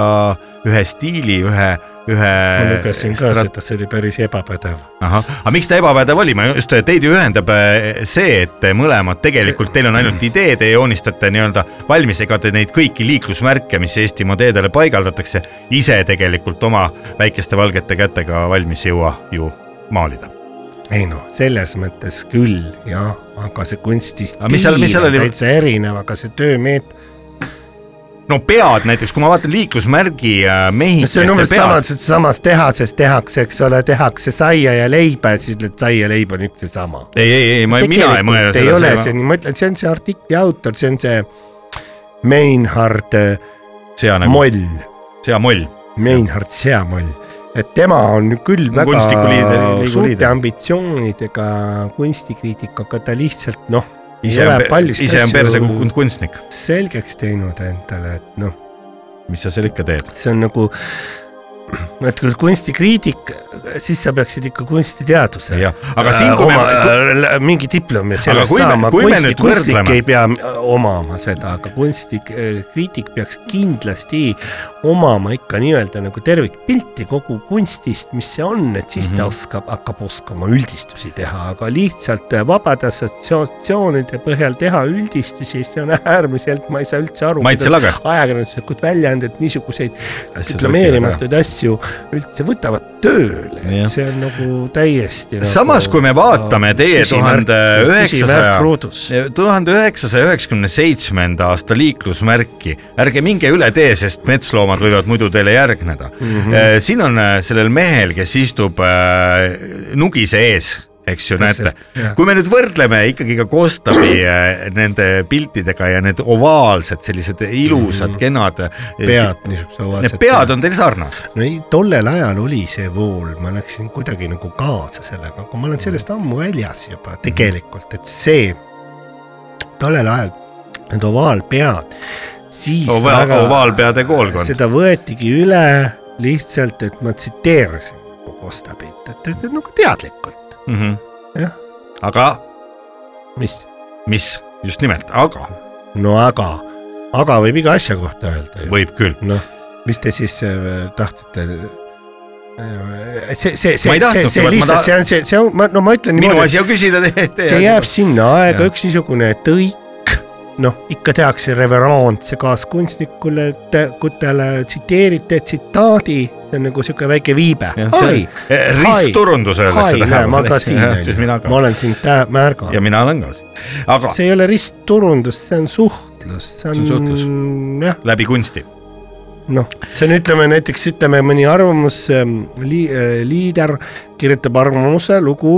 Speaker 1: ühe stiili , ühe , ühe .
Speaker 2: ma lugesin ka seda , see oli päris ebapädev .
Speaker 1: ahah , aga miks ta ebapädev oli , ma just , teid ju ühendab äh, see , et te mõlemad tegelikult , teil on ainult idee , te joonistate nii-öelda valmis , ega te neid kõiki liiklusmärke , mis Eestimaa teedele paigaldatakse , ise tegelikult oma väikeste valgete kätega valmis ei jõua ju maalida .
Speaker 2: ei noh , selles mõttes küll jah , aga see kunstistiil
Speaker 1: Aga mis seal- mis seal
Speaker 2: on
Speaker 1: oli-
Speaker 2: täitsa erinev , aga see töömeet ,
Speaker 1: no pead näiteks , kui ma vaatan liiklusmärgi äh,
Speaker 2: No see on
Speaker 1: mehikeste
Speaker 2: umbes sama ,
Speaker 1: pead ,
Speaker 2: et samas tehases tehakse , eks ole , tehakse saia ja leiba ja siis ütled , saia ja leib on üks ja sama .
Speaker 1: ei , ei , ei , ma , mina ei mõelnud
Speaker 2: ei ole see nii , ma ütlen , see on see artikli autor , see on see Meinhard äh,
Speaker 1: sea nagu ,
Speaker 2: Moll ,
Speaker 1: sea moll .
Speaker 2: Meinhard Seamoll , et tema on küll
Speaker 1: On
Speaker 2: väga
Speaker 1: kunstniku liider- liigu
Speaker 2: suurte
Speaker 1: liider.
Speaker 2: ambitsioonidega kunstikriitikaga , ta lihtsalt noh , ei
Speaker 1: ise
Speaker 2: ole
Speaker 1: on ,
Speaker 2: paljust
Speaker 1: ise on perse
Speaker 2: asju
Speaker 1: kukkunud kunstnik ,
Speaker 2: selgeks teinud endale , et noh ,
Speaker 1: mis sa seal ikka teed .
Speaker 2: see on nagu , et kui kunstikriitik , siis sa peaksid ikka kunstiteaduse .
Speaker 1: jah , aga siin , kui
Speaker 2: Äh, oma,
Speaker 1: me ,
Speaker 2: äh, mingi diplomi sellest
Speaker 1: kui me-
Speaker 2: saama ,
Speaker 1: kui me
Speaker 2: kunsti ,
Speaker 1: nüüd
Speaker 2: kunstnik
Speaker 1: võrdleme-
Speaker 2: ei pea äh, omama seda , aga kunstikriitik peaks kindlasti omama ikka nii-öelda nagu tervikpilti kogu kunstist , mis see on , et siis mm -hmm.
Speaker 1: Mhm.
Speaker 2: ta oskab , hakkab oskama üldistusi teha , aga lihtsalt äh, vabade assotsiatsioonide põhjal teha üldistusi , see on äärmiselt , ma ei saa üldse aru ,
Speaker 1: Maitse Lage .
Speaker 2: ajakirjanduslikud väljaanded niisuguseid
Speaker 1: Asju
Speaker 2: diplomeerimatuid asju üldse võtavad tööle , et see on nagu täiesti
Speaker 1: Samas, kui me vaatame teie 1900 tuhande üheksasaja üheksakümne seitsmenda aasta liiklusmärki , ärge minge üle tee , sest metsloomad võivad muidu teile järgneda mm .
Speaker 2: Mhm.
Speaker 1: -hmm. siin on äh, sellel mehel , kes istub äh, nugise ees , eks ju , näete
Speaker 2: Täpselt, jah. .
Speaker 1: kui me nüüd võrdleme ikkagi ka Kostabi äh, nende piltidega ja need ovaalsed sellised ilusad mm , -hmm. kenad .
Speaker 2: Mhm. pead . niisuguse
Speaker 1: Need
Speaker 2: ovaalsed
Speaker 1: pead on teil sarnased .
Speaker 2: no ei , tollel ajal oli see vool , ma läksin kuidagi nagu kaasa sellega , aga ma olen sellest ammu väljas juba
Speaker 1: Mhm.
Speaker 2: tegelikult , et see tollel ajal need ovaalpead , siis
Speaker 1: Ovaal , ovaalpeade koolkond .
Speaker 2: seda võetigi üle lihtsalt , et ma tsiteerisin kogu ostab neid , et , et , et nagu teadlikult ,
Speaker 1: mm . -hmm.
Speaker 2: Jah.
Speaker 1: aga
Speaker 2: mis .
Speaker 1: mis , just nimelt , aga
Speaker 2: no aga , aga võib iga asja kohta öelda ju .
Speaker 1: võib küll .
Speaker 2: noh , mis te siis äh, tahtsite ? see , see ,
Speaker 1: Ma ei
Speaker 2: see , see ,
Speaker 1: tahtnudki,
Speaker 2: see
Speaker 1: vaid ma
Speaker 2: lihtsalt ,
Speaker 1: ta-
Speaker 2: see on see , see on , ma , no ma ütlen
Speaker 1: minu
Speaker 2: niimoodi ,
Speaker 1: asi on küsida teie te
Speaker 2: see jääb . sinna aega
Speaker 1: Jah.
Speaker 2: üks niisugune tõik , noh , ikka tehakse reverentse kaaskunstnikule , kutele , tsiteerite tsitaadi , see on nagu niisugune väike viibe . ai ,
Speaker 1: Eh, ristturundus öeldakse
Speaker 2: ai , näe , ma ka siin
Speaker 1: siis
Speaker 2: olen
Speaker 1: mina ,
Speaker 2: ma
Speaker 1: ka .
Speaker 2: olen sind tä- märganud
Speaker 1: ja . mina olen ka siin . aga
Speaker 2: see ei ole ristturundus , see on suhtlus , see
Speaker 1: See on suhtlus.
Speaker 2: on Mm, jah ,
Speaker 1: läbi kunsti .
Speaker 2: noh , see on , ütleme näiteks ütleme mõni ähm, arvamusliider äh, kirjutab arvamuse , lugu ,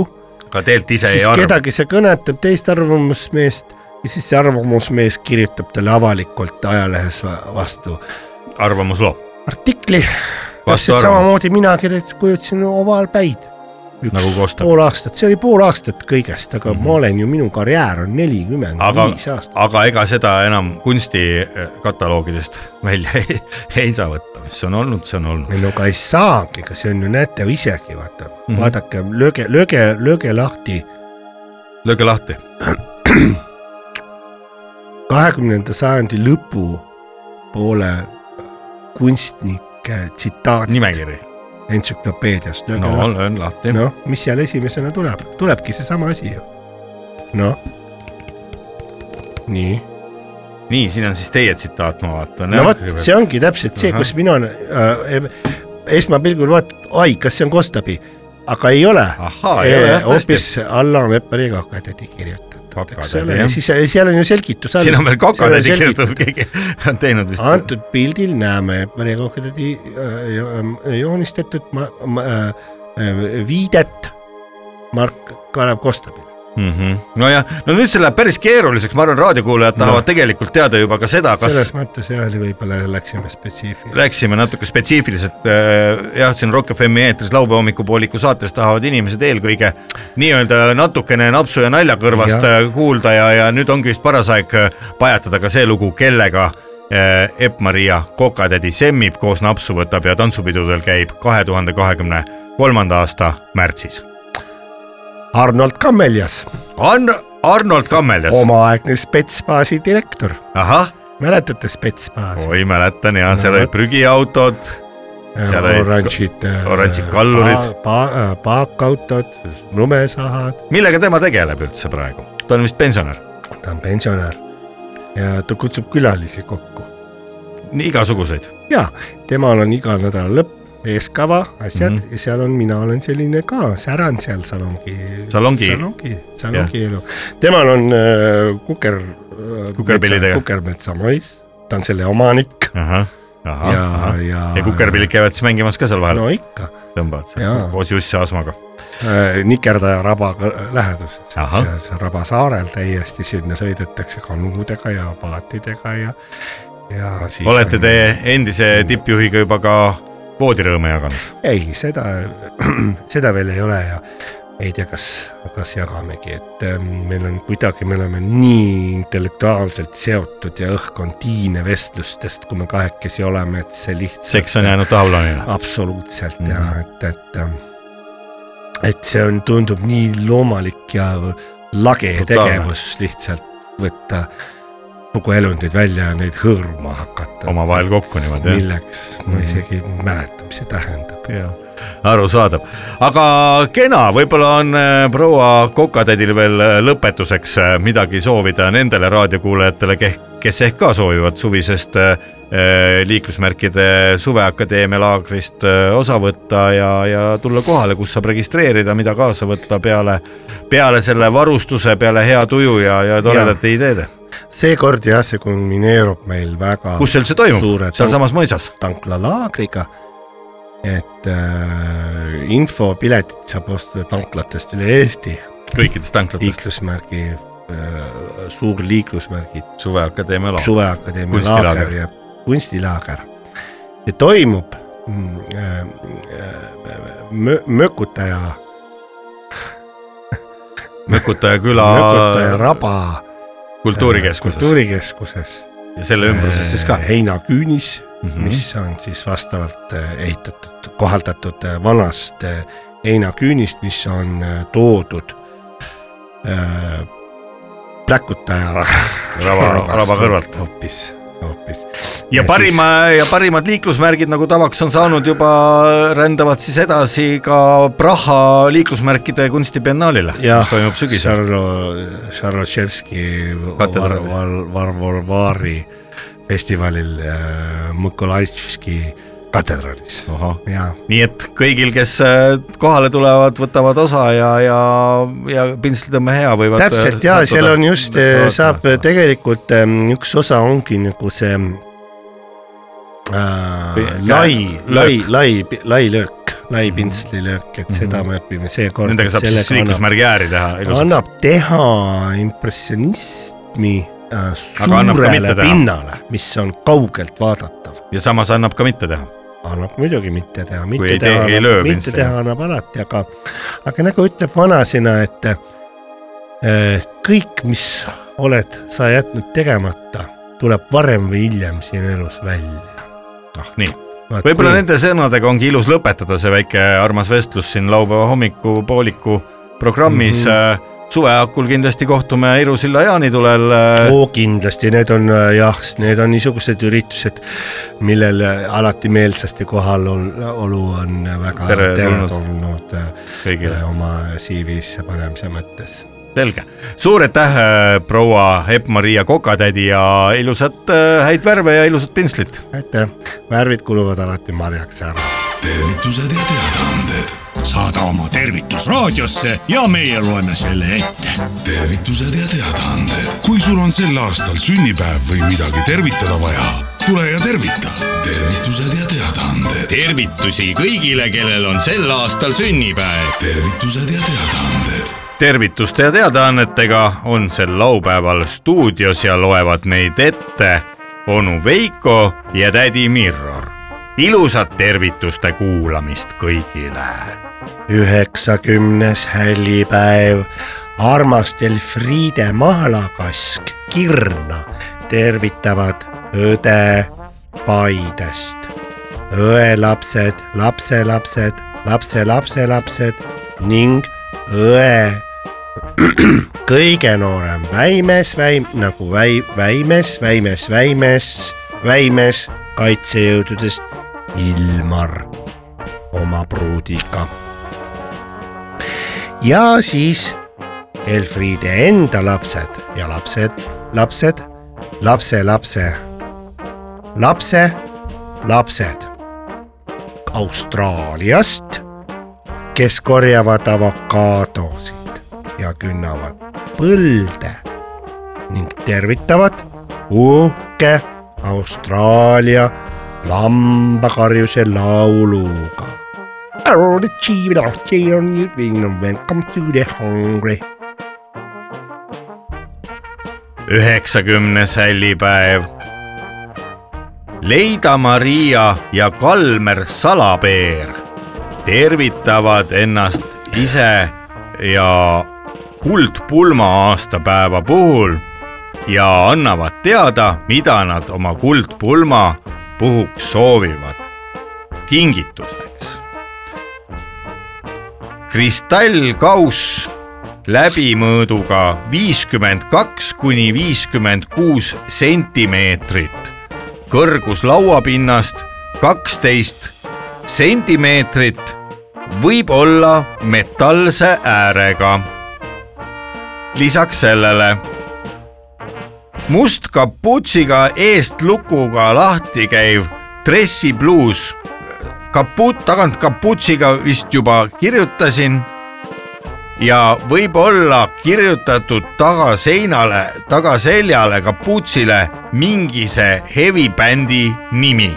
Speaker 1: aga tegelikult ise ei
Speaker 2: siis
Speaker 1: arva .
Speaker 2: kedagi see kõnetab teist arvamusmeest ja siis see arvamusmees kirjutab talle avalikult ajalehes va- vastu
Speaker 1: arvamusloo .
Speaker 2: artikli .
Speaker 1: Vastu
Speaker 2: täpselt
Speaker 1: arvamus.
Speaker 2: samamoodi mina kirjut- kujutasin Ovaalpäid .
Speaker 1: Nagu Kosta. Mhm.
Speaker 2: pool aastat , see oli pool aastat kõigest , aga mm -hmm. ma olen ju , minu karjäär on nelikümmend
Speaker 1: aga
Speaker 2: viis aastat ,.
Speaker 1: aga ega seda enam kunstikataloogidest välja ei, ei saa võtta , mis on olnud , see on olnud .
Speaker 2: ei no aga ei saagi , aga see on ju näete ju isegi vaata mm ,
Speaker 1: Mhm.
Speaker 2: -hmm. vaadake , lööge , lööge , lööge lahti
Speaker 1: lööge lahti .
Speaker 2: kahekümnenda sajandi lõpu poole kunstnike tsitaat
Speaker 1: nimekiri .
Speaker 2: entsüklopeediast , lööge
Speaker 1: no
Speaker 2: no, lahti ,
Speaker 1: löön lahti no. .
Speaker 2: noh , mis seal esimesena tuleb , tulebki seesama asi ju , noh . nii ,
Speaker 1: nii , siin on siis teie tsitaat , ma vaatan .
Speaker 2: no vot , see ongi täpselt see ,
Speaker 1: Ahah.
Speaker 2: kus mina äh, esmapilgul vaatad , ai , kas see on Kostabi , aga ei ole
Speaker 1: ahhaa , ei ole
Speaker 2: Eh,
Speaker 1: jah , tõesti .
Speaker 2: hoopis Allan Vepperiga Kokatädi kirjutatud , eks
Speaker 1: Kokatädi,
Speaker 2: ole ,
Speaker 1: jah.
Speaker 2: ja siis seal on ju selgitus all .
Speaker 1: siin on veel kokatädi kirjutatud , keegi on teinud vist .
Speaker 2: antud pildil näeme Vepperi ja Kokatädi äh, jo- ähm, joonistatud ma, ma, äh, äh, viidet Mark Kalev Kostabile .
Speaker 1: mm -hmm. nojah , no nüüd see läheb päris keeruliseks , ma arvan , raadiokuulajad
Speaker 2: No.
Speaker 1: tahavad tegelikult teada juba ka seda , kas
Speaker 2: selles mõttes jah , võib-olla läksime spetsiifiliseks .
Speaker 1: läksime natuke spetsiifiliselt äh, jah , siin Rock FM-i eetris laupäeva hommikupooliku saates tahavad inimesed eelkõige nii-öelda natukene napsu ja nalja kõrvast
Speaker 2: Jah.
Speaker 1: ja. kuulda ja , ja nüüd ongi vist paras aeg äh, pajatada ka see lugu , kellega äh, Epp-Maria Kokatädi semmib , koos napsu võtab ja tantsupidudel käib kahe tuhande kahekümne kolmanda aasta märtsis .
Speaker 2: Arnold Kammeljas ,
Speaker 1: Arn- , Arnold Kammeljas ,
Speaker 2: omaaegne Spetsbaasi direktor ,
Speaker 1: ahah
Speaker 2: mäletate Spetsbaasi ?
Speaker 1: oi , mäletan ja seal
Speaker 2: No
Speaker 1: olid
Speaker 2: vot.
Speaker 1: prügiautod , Oh, seal olid
Speaker 2: oranžid ,
Speaker 1: oranžid kallurid. ,
Speaker 2: äh, paakautod , lumesahad ,
Speaker 1: millega tema tegeleb üldse praegu , ta on vist pensionär ,
Speaker 2: ta on pensionär ja ta kutsub külalisi kokku
Speaker 1: igasuguseid .
Speaker 2: ja temal on iga nädala lõpp eeskava , asjad
Speaker 1: Mhm.
Speaker 2: mm -hmm. ja seal on , mina olen selline ka , säran seal salongi .
Speaker 1: Salongi.
Speaker 2: salongi , salongi elu . temal on äh, kuker äh, .
Speaker 1: Kukerpillidega.
Speaker 2: kukermetsamais , ta on selle omanik ja , ja,
Speaker 1: ja ,
Speaker 2: ja .
Speaker 1: ja kukerpillid käivad siis mängimas ka seal vahel no. ,
Speaker 2: no ikka
Speaker 1: tõmbavad
Speaker 2: jaa.
Speaker 1: seal koos Jussi Asmaga .
Speaker 2: äh, , Nikerdaja raba kõ- läheduses ,
Speaker 1: Ahah.
Speaker 2: seal seal Raba saarel täiesti sinna sõidetakse kanudega ja paatidega ja , ja siis .
Speaker 1: olete te endise tippjuhiga juba ka voodirõõme jaganud ?
Speaker 2: ei , seda , seda veel ei ole ja ei tea , kas , kas jagamegi , et ähm, meil on kuidagi , me oleme nii intellektuaalselt seotud ja õhk on tiine vestlustest , kui me kahekesi oleme , et see lihtsalt .
Speaker 1: seks on jäänud tahaplaanile .
Speaker 2: absoluutselt mm
Speaker 1: Mhm.
Speaker 2: -hmm. ja et , et ähm, et see on , tundub nii loomulik ja lage
Speaker 1: Brutaalne.
Speaker 2: tegevus lihtsalt võtta kogu elundid välja ja neid hõõruma hakata .
Speaker 1: Omavahel kokku niimoodi, jah.
Speaker 2: milleks , ma
Speaker 1: Mhm.
Speaker 2: isegi ei mäleta , mis see tähendab .
Speaker 1: arusaadav , aga kena , võib-olla on äh, proua Kokatädil veel äh, lõpetuseks äh, midagi soovida nendele raadiokuulajatele , kes ehk ka soovivad suvisest äh, äh, liiklusmärkide Suveakadeemia laagrist äh, osa võtta ja , ja tulla kohale , kus saab registreerida , mida kaasa võtta peale , peale selle varustuse , peale hea tuju ja , ja toredate ideede .
Speaker 2: seekord jah , see kulmineerub meil väga
Speaker 1: kus see üldse toimub
Speaker 2: Suure ? tõu-
Speaker 1: sealsamas mõisas .
Speaker 2: tanklalaagriga . et äh, infopiletit saab osta tanklatest üle Eesti ,
Speaker 1: kõikides tanklates .
Speaker 2: liiklusmärgi äh, , suur liiklusmärgid .
Speaker 1: Suveakadeemia laag .
Speaker 2: suveakadeemia
Speaker 1: Kunstilaager.
Speaker 2: laager ja kunstilaager . see toimub mm, äh, äh, mö- mökutaja ,
Speaker 1: Mökutaja küla
Speaker 2: mökutaja raba
Speaker 1: kultuurikeskuses .
Speaker 2: kultuurikeskuses Äh,
Speaker 1: ja selle ümbruses siis ka . Mhm.
Speaker 2: heinaküünis mm , -hmm. mis on siis vastavalt eh, ehitatud , kohaldatud eh, vanast eh, heinaküünist , mis on eh, toodud eh, pläkutaja
Speaker 1: Raba- raba kõrvalt.
Speaker 2: hoopis , hoopis .
Speaker 1: ja parima ja parimad liiklusmärgid , nagu tavaks on saanud juba , rändavad siis edasi ka Praha liiklusmärkide kunstibiennaalile ,
Speaker 2: jah
Speaker 1: mis toimub , sügisel .
Speaker 2: Charlo- , Charloševski Var- ,
Speaker 1: Katedraalis.
Speaker 2: Var- , Varvolvari festivalil äh, Mõkolajski katedraalis
Speaker 1: ahah ,
Speaker 2: ja
Speaker 1: nii et kõigil , kes äh, kohale tulevad , võtavad osa ja , ja , ja pintslitõmme hea võivad . äh,
Speaker 2: täpselt ja seal on just , saab . tegelikult ähm, üks osa ongi nagu see äh,
Speaker 1: Pi-
Speaker 2: lai ,
Speaker 1: löök. Mhm.
Speaker 2: lai , lai , lai löök , lai pintslilöök , et seda me õpime seekord .
Speaker 1: Nendega saab siis liiklusmärgi ääri teha ilusalt .
Speaker 2: annab teha impressionismi äh,
Speaker 1: Aga annab ka
Speaker 2: suurele
Speaker 1: mitte teha.
Speaker 2: pinnale , mis on kaugelt vaadatav .
Speaker 1: ja samas annab ka mitte teha .
Speaker 2: annab muidugi mitte teha ,
Speaker 1: ei
Speaker 2: mitte
Speaker 1: tee-
Speaker 2: teha
Speaker 1: ei löö
Speaker 2: annab , mitte
Speaker 1: pintsliga.
Speaker 2: teha annab alati , aga , aga nagu ütleb vanasõna , et äh, kõik , mis oled sa jätnud tegemata , tuleb varem või hiljem siin elus välja .
Speaker 1: ah nii , võib-olla nende sõnadega ongi ilus lõpetada see väike armas vestlus siin laupäeva hommikupooliku programmis mm . -hmm. suve hakul kindlasti kohtume Iru silla jaanitulel oh. .
Speaker 2: oo , kindlasti need on äh, jah , need on niisugused üritused , millel äh, alati meelsasti kohalolu on väga
Speaker 1: Tere-
Speaker 2: teretulnud
Speaker 1: kõigile
Speaker 2: äh, oma CV-sse panemise mõttes .
Speaker 1: selge , suur aitäh , proua Epp-Maria Kokatädi ja ilusat äh, häid värve ja ilusat pintslit .
Speaker 2: aitäh , värvid kuluvad alati marjaks ära .
Speaker 5: tervitused ja teadaanded ,
Speaker 6: saada oma tervitus raadiosse ja meie loeme selle ette .
Speaker 5: tervitused ja teadaanded . kui sul on sel aastal sünnipäev või midagi tervitada vaja , tule ja tervita . tervitused ja teadaanded ,
Speaker 3: tervitusi kõigile , kellel on sel aastal sünnipäev .
Speaker 5: tervitused ja teadaanded .
Speaker 1: tervituste ja teadaannetega on sel laupäeval stuudios ja loevad neid ette onu Veiko ja tädi Mirror . ilusat tervituste kuulamist kõigile
Speaker 2: üheksakümnes hällipäev , armastel Friide Mahlakask Kirna tervitavad õde Paidest . õelapsed , lapselapsed , lapselapselapsed ning õe kõige noorem väimes , väim- , nagu väi- , väimes , väimes , väimes , väimes kaitsejõududest Ilmar oma pruudiga ja siis Elfriide enda lapsed ja lapsed , lapsed , lapselapse , lapse , lapsed Austraaliast , kes korjavad avokaadosid ja künnavad põlde ning tervitavad uhke Austraalia lambakarjuse lauluga Hello, the cheese on on you being welcome to the hungry .
Speaker 1: üheksakümnes hällipäev . Leida-Maria ja Kalmer Salapeer tervitavad ennast ise ja kuldpulma aastapäeva puhul ja annavad teada , mida nad oma kuldpulma puhuks soovivad kingituseks . kristallkauss läbimõõduga viiskümmend kaks kuni viiskümmend kuus sentimeetrit , kõrgus lauapinnast kaksteist sentimeetrit , võib olla metallse äärega . lisaks sellele must kapuutsiga eestlukuga lahti käiv dressipluus , kapuut , tagant kapuutsiga vist juba kirjutasin ja võib olla kirjutatud tagaseinale , tagaseljale kapuutsile mingise heavy bändi nimi .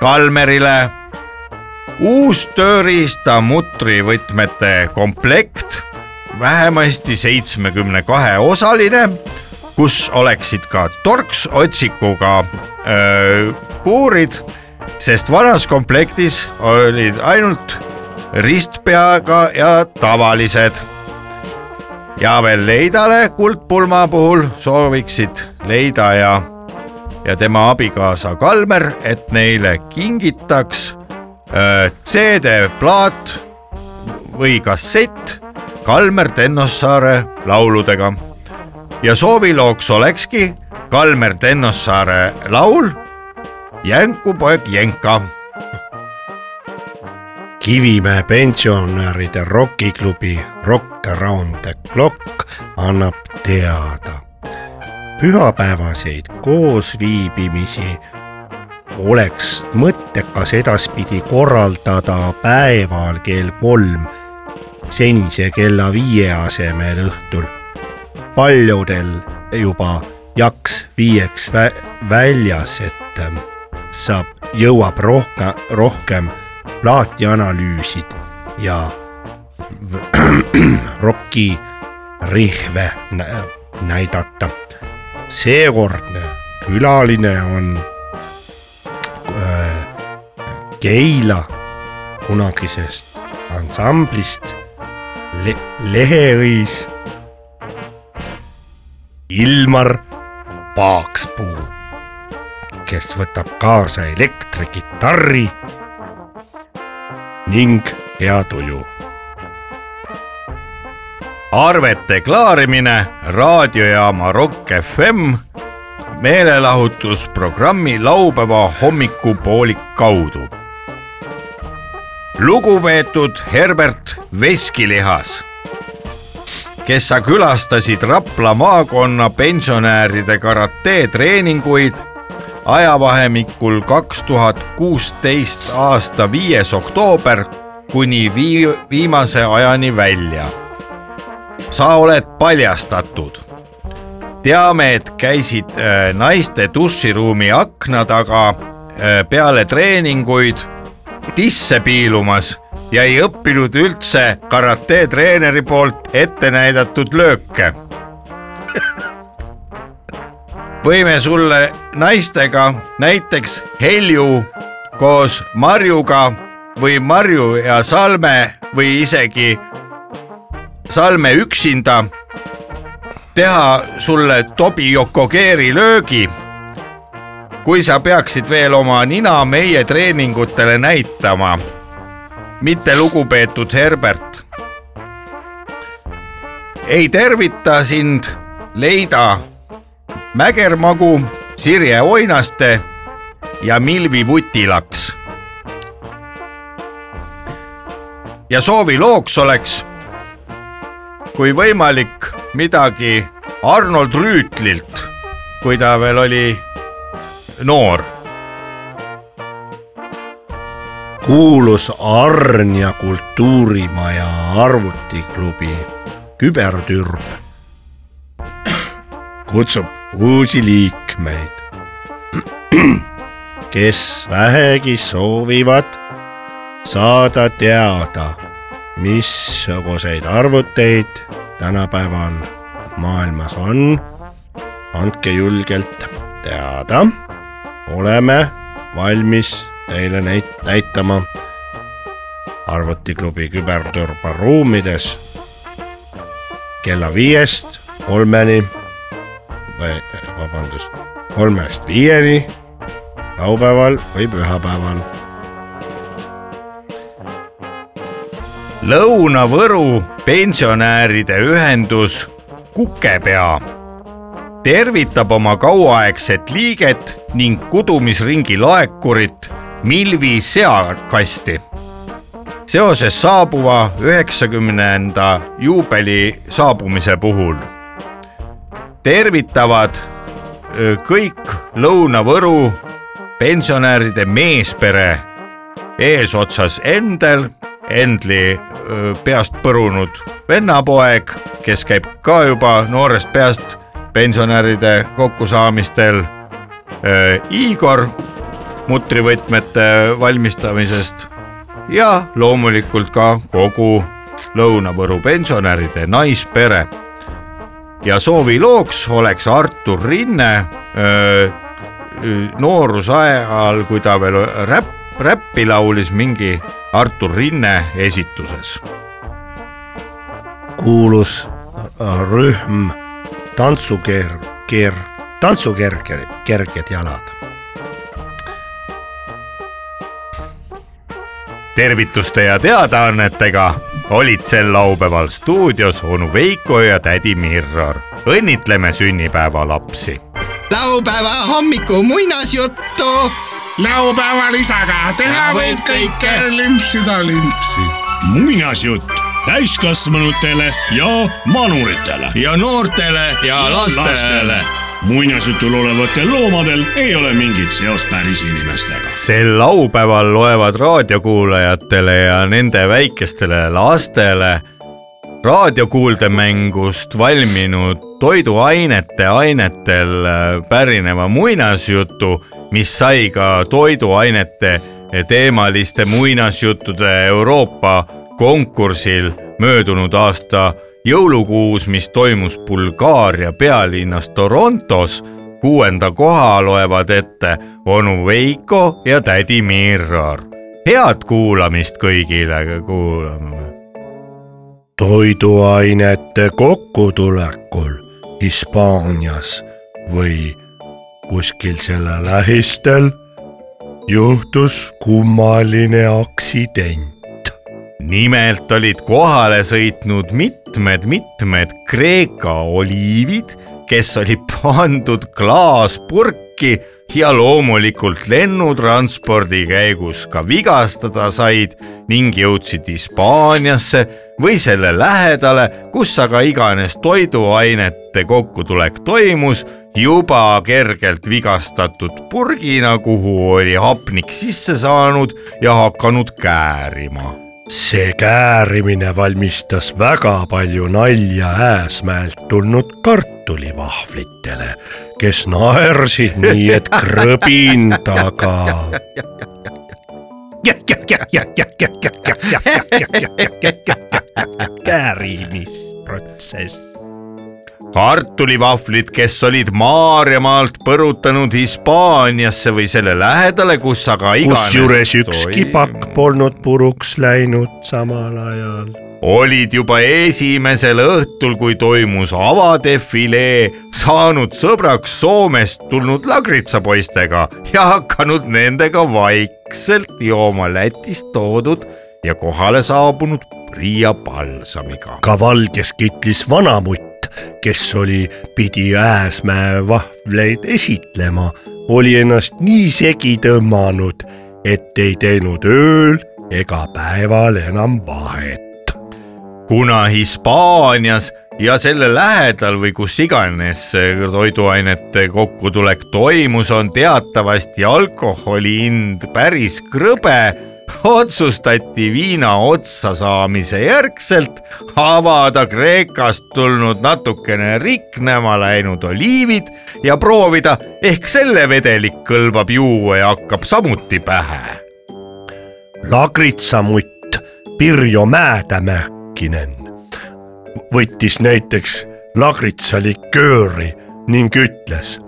Speaker 1: Kalmerile uus tööriista mutrivõtmete komplekt , vähemasti seitsmekümne kahe osaline , kus oleksid ka torksotsikuga öö, puurid , sest vanas komplektis olid ainult ristpeaga ja tavalised . ja veel Leidale kuldpulma puhul sooviksid Leida ja , ja tema abikaasa Kalmer , et neile kingitaks öö, CD-plaat või kassett Kalmer Tennossaare lauludega . ja soovilooks olekski Kalmer Tennossaare laul Jänkupoeg Jenka
Speaker 2: Kivimäe pensionäride rokiklubi Rock Around the Clock annab teada pühapäevaseid koosviibimisi oleks mõttekas edaspidi korraldada päeval kell kolm senise kella viie asemel õhtul . paljudel juba jaks viieks vä väljas , et ähm, saab , jõuab rohkem , rohkem plaatianalüüsid ja v- roki rihve nä näidata . seekordne külaline on äh, Keila kunagisest ansamblist Le Leheõis Ilmar Paakspuu , kes võtab kaasa elektrikitarri ning hea tuju .
Speaker 1: arvete klaarimine raadiojaama Rock FM meelelahutusprogrammi laupäeva hommikupooli kaudu . lugupeetud Herbert Veskilihas , kes sa külastasid Rapla maakonna pensionäride karateetreeninguid ajavahemikul kaks tuhat kuusteist aasta viies oktoober kuni vii- , viimase ajani välja sa oled paljastatud . teame , et käisid äh, naiste duširuumi akna taga äh, peale treeninguid tisse piilumas ja ei õppinud üldse karate treeneri poolt ette näidatud lööke . võime sulle naistega näiteks Helju koos Marjuga või Marju ja Salme või isegi Salme üksinda teha sulle Tobi Yokogeeri löögi . kui sa peaksid veel oma nina meie treeningutele näitama , mitte lugupeetud Herbert . ei tervita sind Leida Mägermagu , Sirje Oinaste ja Milvi Vutilaks . ja soovilooks oleks kui võimalik midagi Arnold Rüütlilt , kui ta veel oli noor .
Speaker 2: kuulus Arn ja Kultuurimaja arvutiklubi Kübertürb kutsub uusi liikmeid , kes vähegi soovivad saada teada , missuguseid arvuteid tänapäeval maailmas on . andke julgelt teada , oleme valmis teile neid näitama arvutiklubi küberturba ruumides kella viiest kolmeni või eh, vabandust , kolmest viieni laupäeval või pühapäeval .
Speaker 1: Lõuna-Võru pensionäride ühendus Kukepea tervitab oma kauaaegset liiget ning kudumisringi laekurit Milvi seakasti . seoses saabuva üheksakümnenda juubeli saabumise puhul tervitavad öö, kõik Lõuna-Võru pensionäride meespere eesotsas Endel , Endli öö, peast põrunud vennapoeg , kes käib ka juba noorest peast pensionäride kokkusaamistel . Igor mutrivõtmete valmistamisest ja loomulikult ka kogu Lõuna-Võru pensionäride naispere . ja soovilooks oleks Artur Rinne öö, noorusajal , kui ta veel räpp , räppi laulis mingi Artur Rinne esituses .
Speaker 2: kuulus rühm tantsukeer , keer , tantsukerge , kerged jalad .
Speaker 1: tervituste ja teadaannetega olid sel laupäeval stuudios onu Veiko ja tädi Mirror . õnnitleme sünnipäevalapsi .
Speaker 7: laupäeva hommiku muinasjuttu .
Speaker 5: laupäeval isaga teha
Speaker 7: võib kõike.
Speaker 5: limpsida limpsi .
Speaker 6: muinasjutt täiskasvanutele ja manuritele .
Speaker 3: ja noortele ja lastele .
Speaker 6: muinasjutul olevatel loomadel ei ole mingit seost päris inimestega .
Speaker 1: sel laupäeval loevad raadiokuulajatele ja nende väikestele lastele raadiokuuldemängust valminud toiduainete ainetel äh, pärineva muinasjutu , mis sai ka toiduainete teemaliste muinasjuttude Euroopa konkursil möödunud aasta jõulukuus , mis toimus Bulgaaria pealinnas Torontos . kuuenda koha loevad ette onu Veiko ja tädi Mirror . head kuulamist kõigile , kuulame
Speaker 2: toiduainete kokkutulekul Hispaanias või kuskil selle lähistel juhtus kummaline aksident .
Speaker 1: nimelt olid kohale sõitnud mitmed-mitmed Kreeka oliivid , kes olid pandud klaaspurki ja loomulikult lennutranspordi käigus ka vigastada said ning jõudsid Hispaaniasse või selle lähedale , kus aga iganes toiduainete kokkutulek toimus , juba kergelt vigastatud purgina , kuhu oli hapnik sisse saanud ja hakanud käärima
Speaker 2: see käärimine valmistas väga palju nalja Ääsmäelt tulnud kartulivahvlitele , kes naersid nii , et krõbin taga . käärimisprotsess .
Speaker 1: kartulivahvlid , kes olid Maarjamaalt põrutanud Hispaaniasse või selle lähedale , kus aga iganes
Speaker 2: kusjuures ükski pakk polnud puruks läinud samal ajal .
Speaker 1: olid juba esimesel õhtul , kui toimus avadefilee , saanud sõbraks Soomest tulnud lagritsapoistega ja hakanud nendega vaikselt jooma Lätist toodud ja kohale saabunud Riia palsamiga .
Speaker 2: ka valges kitlis vanamutt , kes oli , pidi Ääsmäe vahvleid esitlema , oli ennast nii segi tõmmanud , et ei teinud ööl ega päeval enam vahet .
Speaker 1: kuna Hispaanias ja selle lähedal või kus iganes toiduainete kokkutulek toimus , on teatavasti alkoholi hind päris krõbe , otsustati viina otsa saamise järgselt avada Kreekast tulnud natukene riknema läinud oliivid ja proovida , ehk selle vedelik kõlbab juua ja hakkab samuti pähe
Speaker 2: lagritsamutt Pirjo Mäetämäkkinen võttis näiteks lagritsalikööri ning ütles .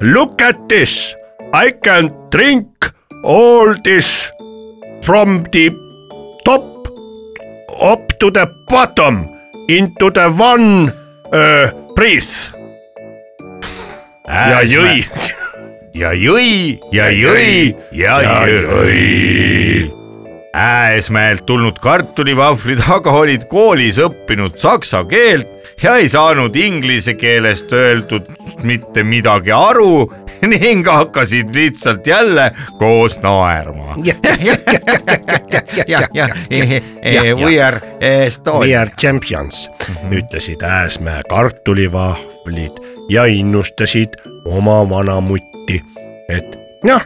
Speaker 2: Look at this, I can drink all this from the top up to the bottom into the one uh, breath . ja jõi .
Speaker 1: ja jõi ja jõi ja jõi . Ääsmäelt tulnud kartulivahvlid aga olid koolis õppinud saksa keelt ja ei saanud inglise keelest öeldud mitte midagi aru ning hakkasid lihtsalt jälle koos naerma . jah , jah , we are
Speaker 2: We
Speaker 1: Estonia .
Speaker 2: are champions mm , -hmm. ütlesid Ääsmäe kartulivahvlid ja innustasid oma vanamutti , et noh ,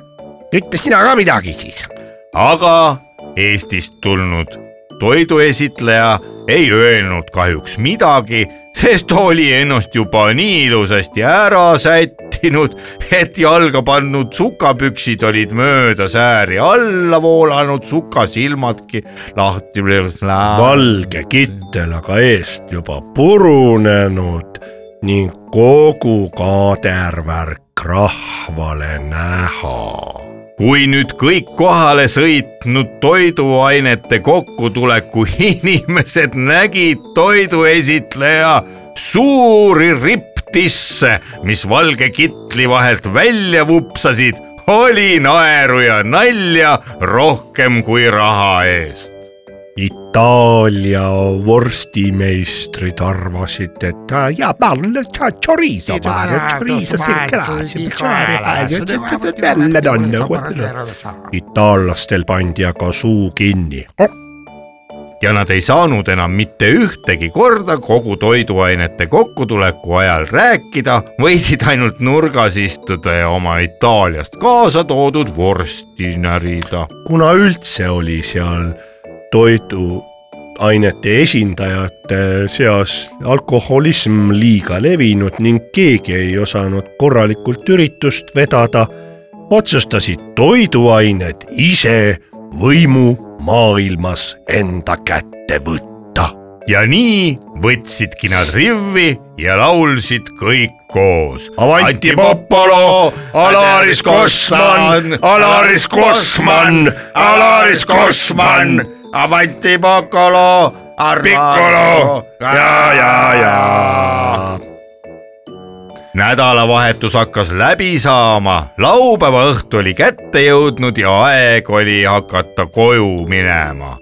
Speaker 2: ütle sina ka midagi siis .
Speaker 1: aga Eestist tulnud toiduesitleja ei öelnud kahjuks midagi , sest oli ennast juba nii ilusasti ära sättinud , et jalga pannud sukapüksid olid mööda sääri alla voolanud , sukasilmadki lahti .
Speaker 2: valge kittel aga eest juba purunenud ning kogu kaadervärk rahvale näha .
Speaker 1: kui nüüd kõik kohale sõitnud toiduainete kokkutuleku inimesed nägid toiduesitleja suuri ripptisse , mis valge kitli vahelt välja vupsasid , oli naeru ja nalja rohkem kui raha eest .
Speaker 2: Itaalia vorstimeistrid arvasid , et "Ah, ja ma olen chorizo , ma olen chorizo , nagu itaallastel pandi aga suu kinni .
Speaker 1: ja nad ei saanud enam mitte ühtegi korda kogu toiduainete kokkutuleku ajal rääkida , võisid ainult nurgas istuda ja oma Itaaliast kaasa toodud vorsti närida .
Speaker 2: kuna üldse oli seal toiduainete esindajate seas alkoholism liiga levinud ning keegi ei osanud korralikult üritust vedada , otsustasid toiduained ise võimu maailmas enda kätte võtta .
Speaker 1: ja nii võtsidki nad rivvi ja laulsid kõik koos .
Speaker 2: Avanti Popolo , Alaris Kosman , Alaris Kosman , Alaris Kosman ,
Speaker 1: Avanti Popolo ,
Speaker 2: Piccolo ja , ja , ja .
Speaker 1: nädalavahetus hakkas läbi saama , laupäeva õhtu oli kätte jõudnud ja aeg oli hakata koju minema .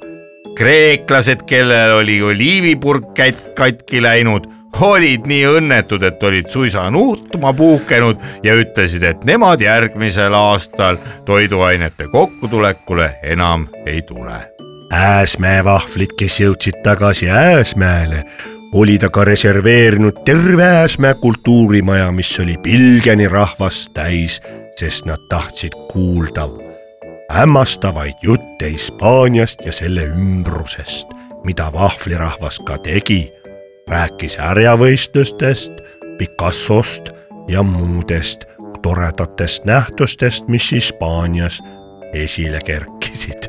Speaker 1: kreeklased , kellel oli oliivipurk kät- katki läinud , olid nii õnnetud , et olid suisa nuhtma puhkenud ja ütlesid , et nemad järgmisel aastal toiduainete kokkutulekule enam ei tule
Speaker 2: Ääsmäevahvlid , kes jõudsid tagasi Ääsmäele , olid aga reserveerinud terve Ääsmäe kultuurimaja , mis oli pilgeni rahvast täis , sest nad tahtsid kuulda hämmastavaid jutte Hispaaniast ja selle ümbrusest , mida vahvlirahvas ka tegi . rääkis härjavõistlustest , Picassost ja muudest toredatest nähtustest , mis Hispaanias esile kerkisid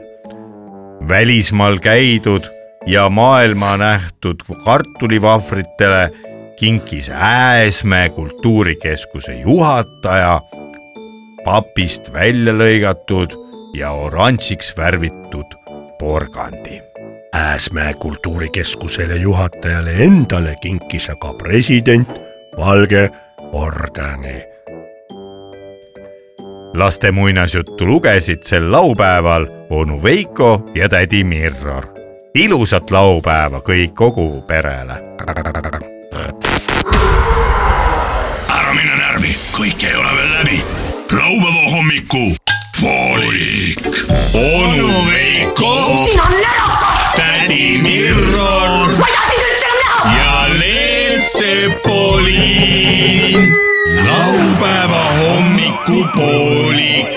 Speaker 1: välismaal käidud ja maailma nähtud kartulivahvritele kinkis Ääsmäe kultuurikeskuse juhataja papist välja lõigatud ja oranžiks värvitud porgandi .
Speaker 2: Ääsmäe kultuurikeskusele juhatajale endale kinkis aga president valge ordeni .
Speaker 1: laste muinasjuttu lugesid sel laupäeval onu Veiko ja tädi Mirror . ilusat laupäeva kõik kogu perele .
Speaker 6: ära mine närvi , kõik ei ole veel läbi . laupäeva hommiku poolik . onu Veiko ,
Speaker 8: sina närakas ,
Speaker 6: tädi Mirror
Speaker 8: ma ei taha sind üldse enam näha .
Speaker 6: ja Leelsepoliin . laupäeva hommikupoolik .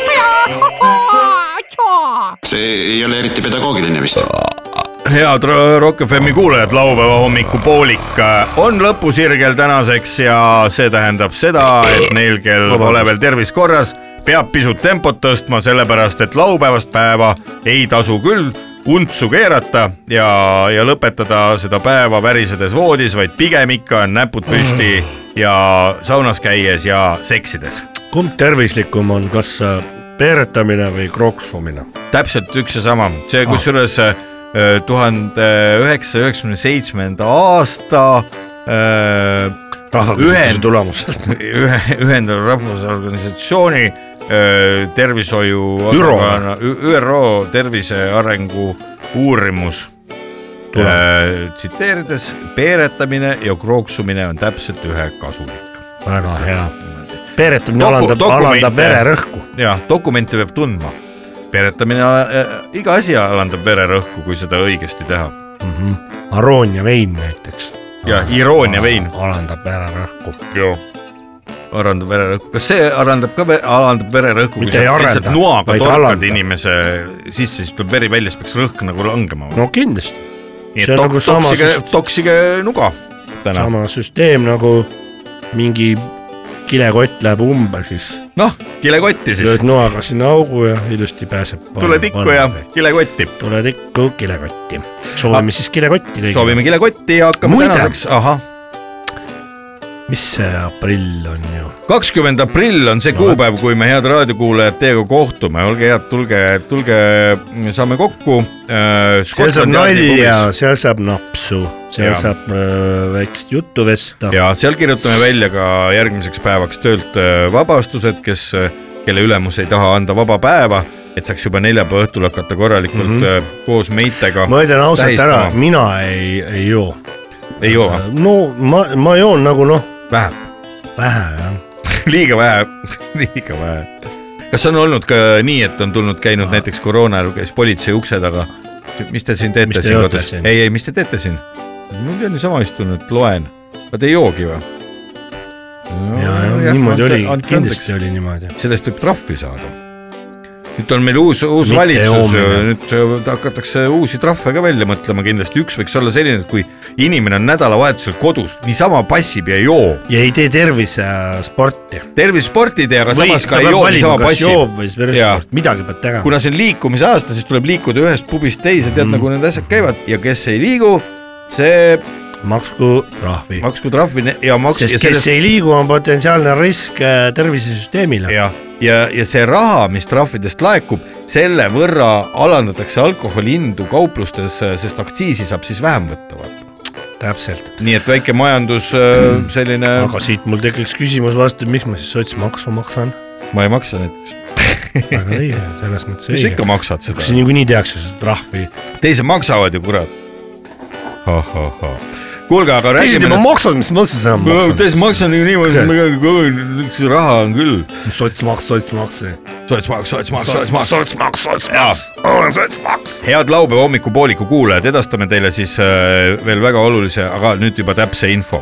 Speaker 9: see ei ole eriti pedagoogiline vist .
Speaker 1: head Ro- Rock FM-i kuulajad , laupäeva hommikupoolik äh, on lõpusirgel tänaseks ja see tähendab seda , et neil , kel pole veel tervis korras , peab pisut tempot tõstma , sellepärast et laupäevast päeva ei tasu küll untsu keerata ja , ja lõpetada seda päeva värisedes voodis , vaid pigem ikka näpud püsti ja saunas käies ja seksides .
Speaker 2: kumb tervislikum on , kas äh, peeretamine või krooksumine ?
Speaker 1: täpselt üks ja sama ,
Speaker 2: Ah.
Speaker 1: see kusjuures tuhande üheksasaja üheksakümne seitsmenda aasta öö,
Speaker 2: rahvaküsitluse
Speaker 1: ühend- ,
Speaker 2: tulemusel .
Speaker 1: ühe , ühendatud rahvusorganisatsiooni öö, tervishoiu
Speaker 2: ÜRO.
Speaker 1: osakonna- Ü- ÜRO tervise arengu uurimus . tsiteerides , peeretamine ja krooksumine on täpselt ühe kasulik .
Speaker 2: väga hea . peeretamine
Speaker 1: Doku-
Speaker 2: alandab ,
Speaker 1: dokumente.
Speaker 2: alandab vererõhku .
Speaker 1: jah , dokumente peab tundma . peeretamine , iga asi alandab vererõhku , kui seda õigesti teha
Speaker 2: Aroonia vein näiteks .
Speaker 1: ja iroonia vein .
Speaker 2: alandab vererõhku .
Speaker 1: arendab vererõhku , kas see arendab ka , alandab vererõhku , kui
Speaker 2: Mitte ei
Speaker 1: sa
Speaker 2: arenda,
Speaker 1: lihtsalt noaga
Speaker 2: vaid
Speaker 1: torkad
Speaker 2: alandab.
Speaker 1: inimese sisse , siis tuleb veri välja , siis peaks rõhk nagu langema .
Speaker 2: no kindlasti ,
Speaker 1: nii
Speaker 2: see
Speaker 1: et
Speaker 2: on
Speaker 1: tok-
Speaker 2: nagu , sama
Speaker 1: toksige
Speaker 2: sest- ,
Speaker 1: toksige nuga täna .
Speaker 2: sama süsteem nagu mingi kilekott läheb umbe , siis
Speaker 1: noh , kilekotti siis
Speaker 2: lööd , noaga sinna augu ja ilusti pääseb .
Speaker 1: tule tikku ja kilekotti .
Speaker 2: tule tikku kilekotti . soovime
Speaker 1: Ah.
Speaker 2: siis kilekotti kõigile .
Speaker 1: soovime kilekotti ja hakkame
Speaker 2: Muide.
Speaker 1: tänaseks , ahah ,
Speaker 2: mis see aprill on ju ?
Speaker 1: kakskümmend aprill on see kuupäev , kui me head raadiokuulajad teiega kohtume , olge head , tulge , tulge , saame kokku äh, .
Speaker 2: seal saab nalja , seal saab napsu , seal
Speaker 1: Jaa.
Speaker 2: saab öö, väikest juttu vesta .
Speaker 1: ja seal kirjutame välja ka järgmiseks päevaks töölt äh, vabastused , kes , kelle ülemus ei taha anda vaba päeva , et saaks juba neljapäeva õhtul hakata korralikult mm -hmm. koos meitega .
Speaker 2: Mhm. ma ütlen ausalt ära ,. mina ei , ei joo .
Speaker 1: ei joo ,
Speaker 2: no ma , ma joon nagu noh ,
Speaker 1: vähe ,
Speaker 2: vähe jah .
Speaker 1: liiga vähe , liiga vähe . kas on olnud ka nii , et on tulnud , käinud näiteks koroona ajal , käis politsei ukse taga . mis te siin
Speaker 2: Mis
Speaker 1: teete
Speaker 2: te
Speaker 1: siin
Speaker 2: joote
Speaker 1: kodus ?
Speaker 2: siin?
Speaker 1: ei , ei , mis te teete siin ? ma pean niisama istun , et loen . aga te ei joogi või ?
Speaker 2: ja ,
Speaker 1: Ah,
Speaker 2: ja niimoodi oli , kindlasti oli niimoodi .
Speaker 1: sellest võib trahvi saada . nüüd on meil uus , uus
Speaker 2: Mitte
Speaker 1: valitsus äh,
Speaker 2: joomine. ,
Speaker 1: nüüd hakatakse uusi trahve ka välja mõtlema kindlasti , üks võiks olla selline , et kui inimene on nädalavahetusel kodus , niisama passib ja ei joo ,
Speaker 2: ja ei tee tervisesporti .
Speaker 1: tervisespordid ja aga samas ka ei joo , niisama passib .
Speaker 2: või siis
Speaker 1: Jaa.
Speaker 2: tervisesport , midagi peab tegema .
Speaker 1: kuna see on liikumise aasta , siis tuleb liikuda ühest pubist teise , tead mm. nagu need asjad käivad ja kes ei liigu , see
Speaker 2: maksku trahvi .
Speaker 1: maksku trahvi ne- ja maks- .
Speaker 2: sest kes ei liigu , on potentsiaalne risk äh, tervisesüsteemile .
Speaker 1: ja , ja , ja see raha , mis trahvidest laekub , selle võrra alandatakse alkoholi hindu kauplustes , sest aktsiisi saab siis vähem võtta , vaata .
Speaker 2: täpselt .
Speaker 1: nii et väike majandus äh, selline ,
Speaker 2: aga siit mul tekiks küsimus vastu , miks ma siis sotsmaksu maksan ?
Speaker 1: ma ei maksa näiteks ,
Speaker 2: väga õige , selles
Speaker 1: mis
Speaker 2: mõttes
Speaker 1: sa
Speaker 2: õige
Speaker 1: ikka . maksad seda
Speaker 2: see , niikuinii tehakse seda trahvi .
Speaker 1: teised maksavad ju kurat . kuulge , aga
Speaker 2: teised
Speaker 1: räägime
Speaker 2: juba . maksavad , mis ma siis enam maksan ?
Speaker 1: teised maksavad ju niimoodi , et raha on küll .
Speaker 2: sotsmaks , sotsmaks .
Speaker 1: sotsmaks , sotsmaks , sotsmaks .
Speaker 2: sotsmaks , sotsmaks , olen sotsmaks .
Speaker 1: head laupäeva hommikupooliku kuulajad , edastame teile siis äh, veel väga olulise , aga nüüd juba täpse info .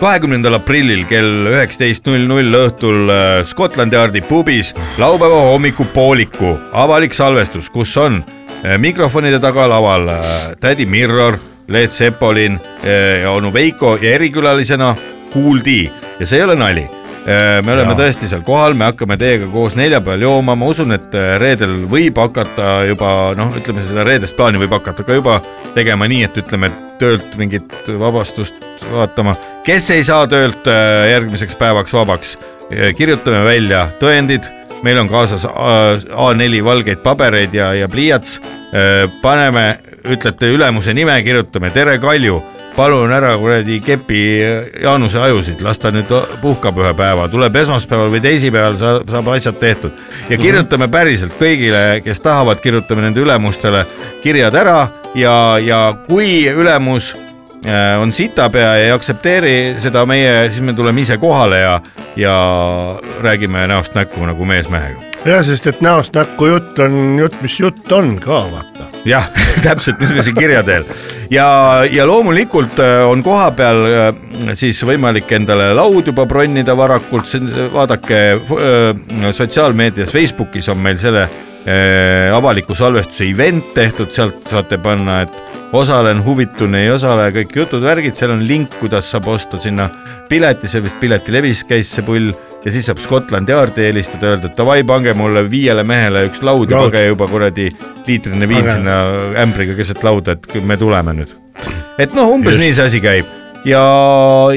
Speaker 1: kahekümnendal aprillil kell üheksateist null null õhtul äh, Scotland Yardi pubis laupäeva hommikupooliku avalik salvestus , kus on äh, mikrofonide taga laval äh, tädi Mirror , Leet Sepolin äh, ja onu Veiko ja erikülalisena kuuldi ja see ei ole nali Äh, me oleme ja. tõesti seal kohal , me hakkame teiega koos neljapäeval jooma , ma usun , et äh, reedel võib hakata juba noh , ütleme seda reedest plaani võib hakata ka juba tegema nii , et ütleme et töölt mingit vabastust vaatama . kes ei saa töölt äh, järgmiseks päevaks vabaks , kirjutame välja tõendid , meil on kaasas äh, A- A4 valgeid pabereid ja , ja pliiats . paneme , ütlete ülemuse nime , kirjutame tere , Kalju palun ära kuradi kepi Jaanuse ajusid , las ta nüüd puhkab ühe päeva , tuleb esmaspäeval või teisipäeval , saab , saab asjad tehtud . ja kirjutame päriselt kõigile , kes tahavad , kirjutame nende ülemustele kirjad ära ja , ja kui ülemus äh, on sitapea ja ei aktsepteeri seda meie , siis me tuleme ise kohale ja , ja räägime näost näkku nagu mees mehega .
Speaker 2: jah , sest et näost näkku jutt on jutt , mis jutt on ka vaata .
Speaker 1: jah , täpselt niisuguse kirja teel ja , ja loomulikult äh, on kohapeal äh, siis võimalik endale laud juba bronida varakult , vaadake äh, sotsiaalmeedias , Facebookis on meil selle äh, avaliku salvestuse event tehtud , sealt saate panna , et osalen , huvitun , ei osale , kõik jutud-värgid , seal on link , kuidas saab osta sinna pileti , see vist Piletilevis käis see pull ja siis saab Scotland Yardi helistada , öelda , et davai , pange mulle viiele mehele üks laud ja
Speaker 2: Laud.
Speaker 1: pange juba kuradi liitrine viin
Speaker 2: Aga-
Speaker 1: sinna ämbriga keset lauda , et küll me tuleme nüüd . et noh , umbes Just.
Speaker 2: Just.
Speaker 1: nii see asi käib ja ,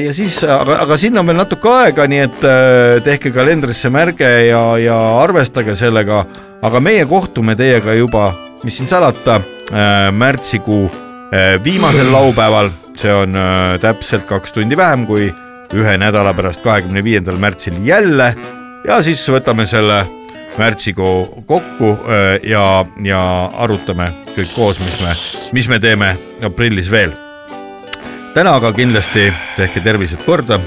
Speaker 1: ja siis , aga , aga sinna on veel natuke aega , nii et äh, tehke kalendrisse märge ja , ja arvestage sellega , aga meie kohtume teiega juba , mis siin salata äh, , märtsikuu äh, viimasel laupäeval , see on äh, täpselt kaks tundi vähem kui ühe nädala pärast , kahekümne viiendal märtsil jälle ja siis võtame selle märtsikuu kokku öö, ja , ja arutame kõik koos , mis me , mis me teeme aprillis veel . täna aga kindlasti tehke tervised korda .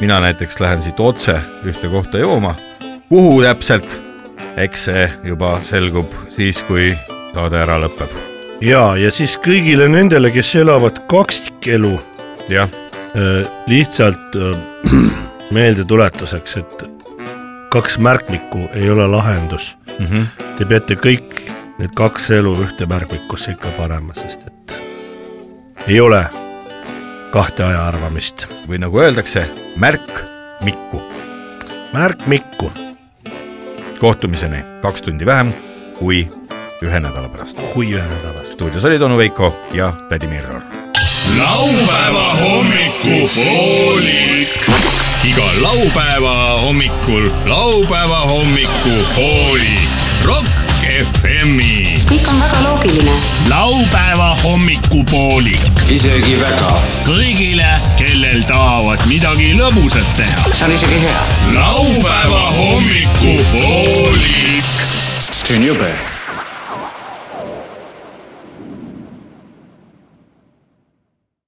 Speaker 1: mina näiteks lähen siit otse ühte kohta jooma . kuhu täpselt , eks see juba selgub siis , kui saade ära lõpeb .
Speaker 2: ja , ja siis kõigile nendele , kes elavad kaksikelu
Speaker 1: jah ,
Speaker 2: Äh, lihtsalt äh, meeldetuletuseks , et kaks märkmikku ei ole lahendus mm .
Speaker 1: Mhm.
Speaker 2: Te peate kõik need kaks elu ühte märkmikusse ikka panema , sest et ei ole kahte ajaarvamist .
Speaker 1: või nagu öeldakse , märk mikku .
Speaker 2: märkmikku ,
Speaker 1: kohtumiseni kaks tundi vähem kui ühe nädala pärast .
Speaker 2: kui ühe nädala
Speaker 1: stuudios olid onu Veiko ja tädi Mirror .
Speaker 6: laupäeva hommikupoolik .
Speaker 3: iga laupäeva hommikul laupäeva hommikupooli Rock FM-i .
Speaker 8: kõik on väga loogiline .
Speaker 6: laupäeva hommikupoolik . isegi väga . kõigile , kellel tahavad midagi lõbusat teha . see on isegi hea .
Speaker 3: laupäeva hommikupoolik .
Speaker 6: see on jube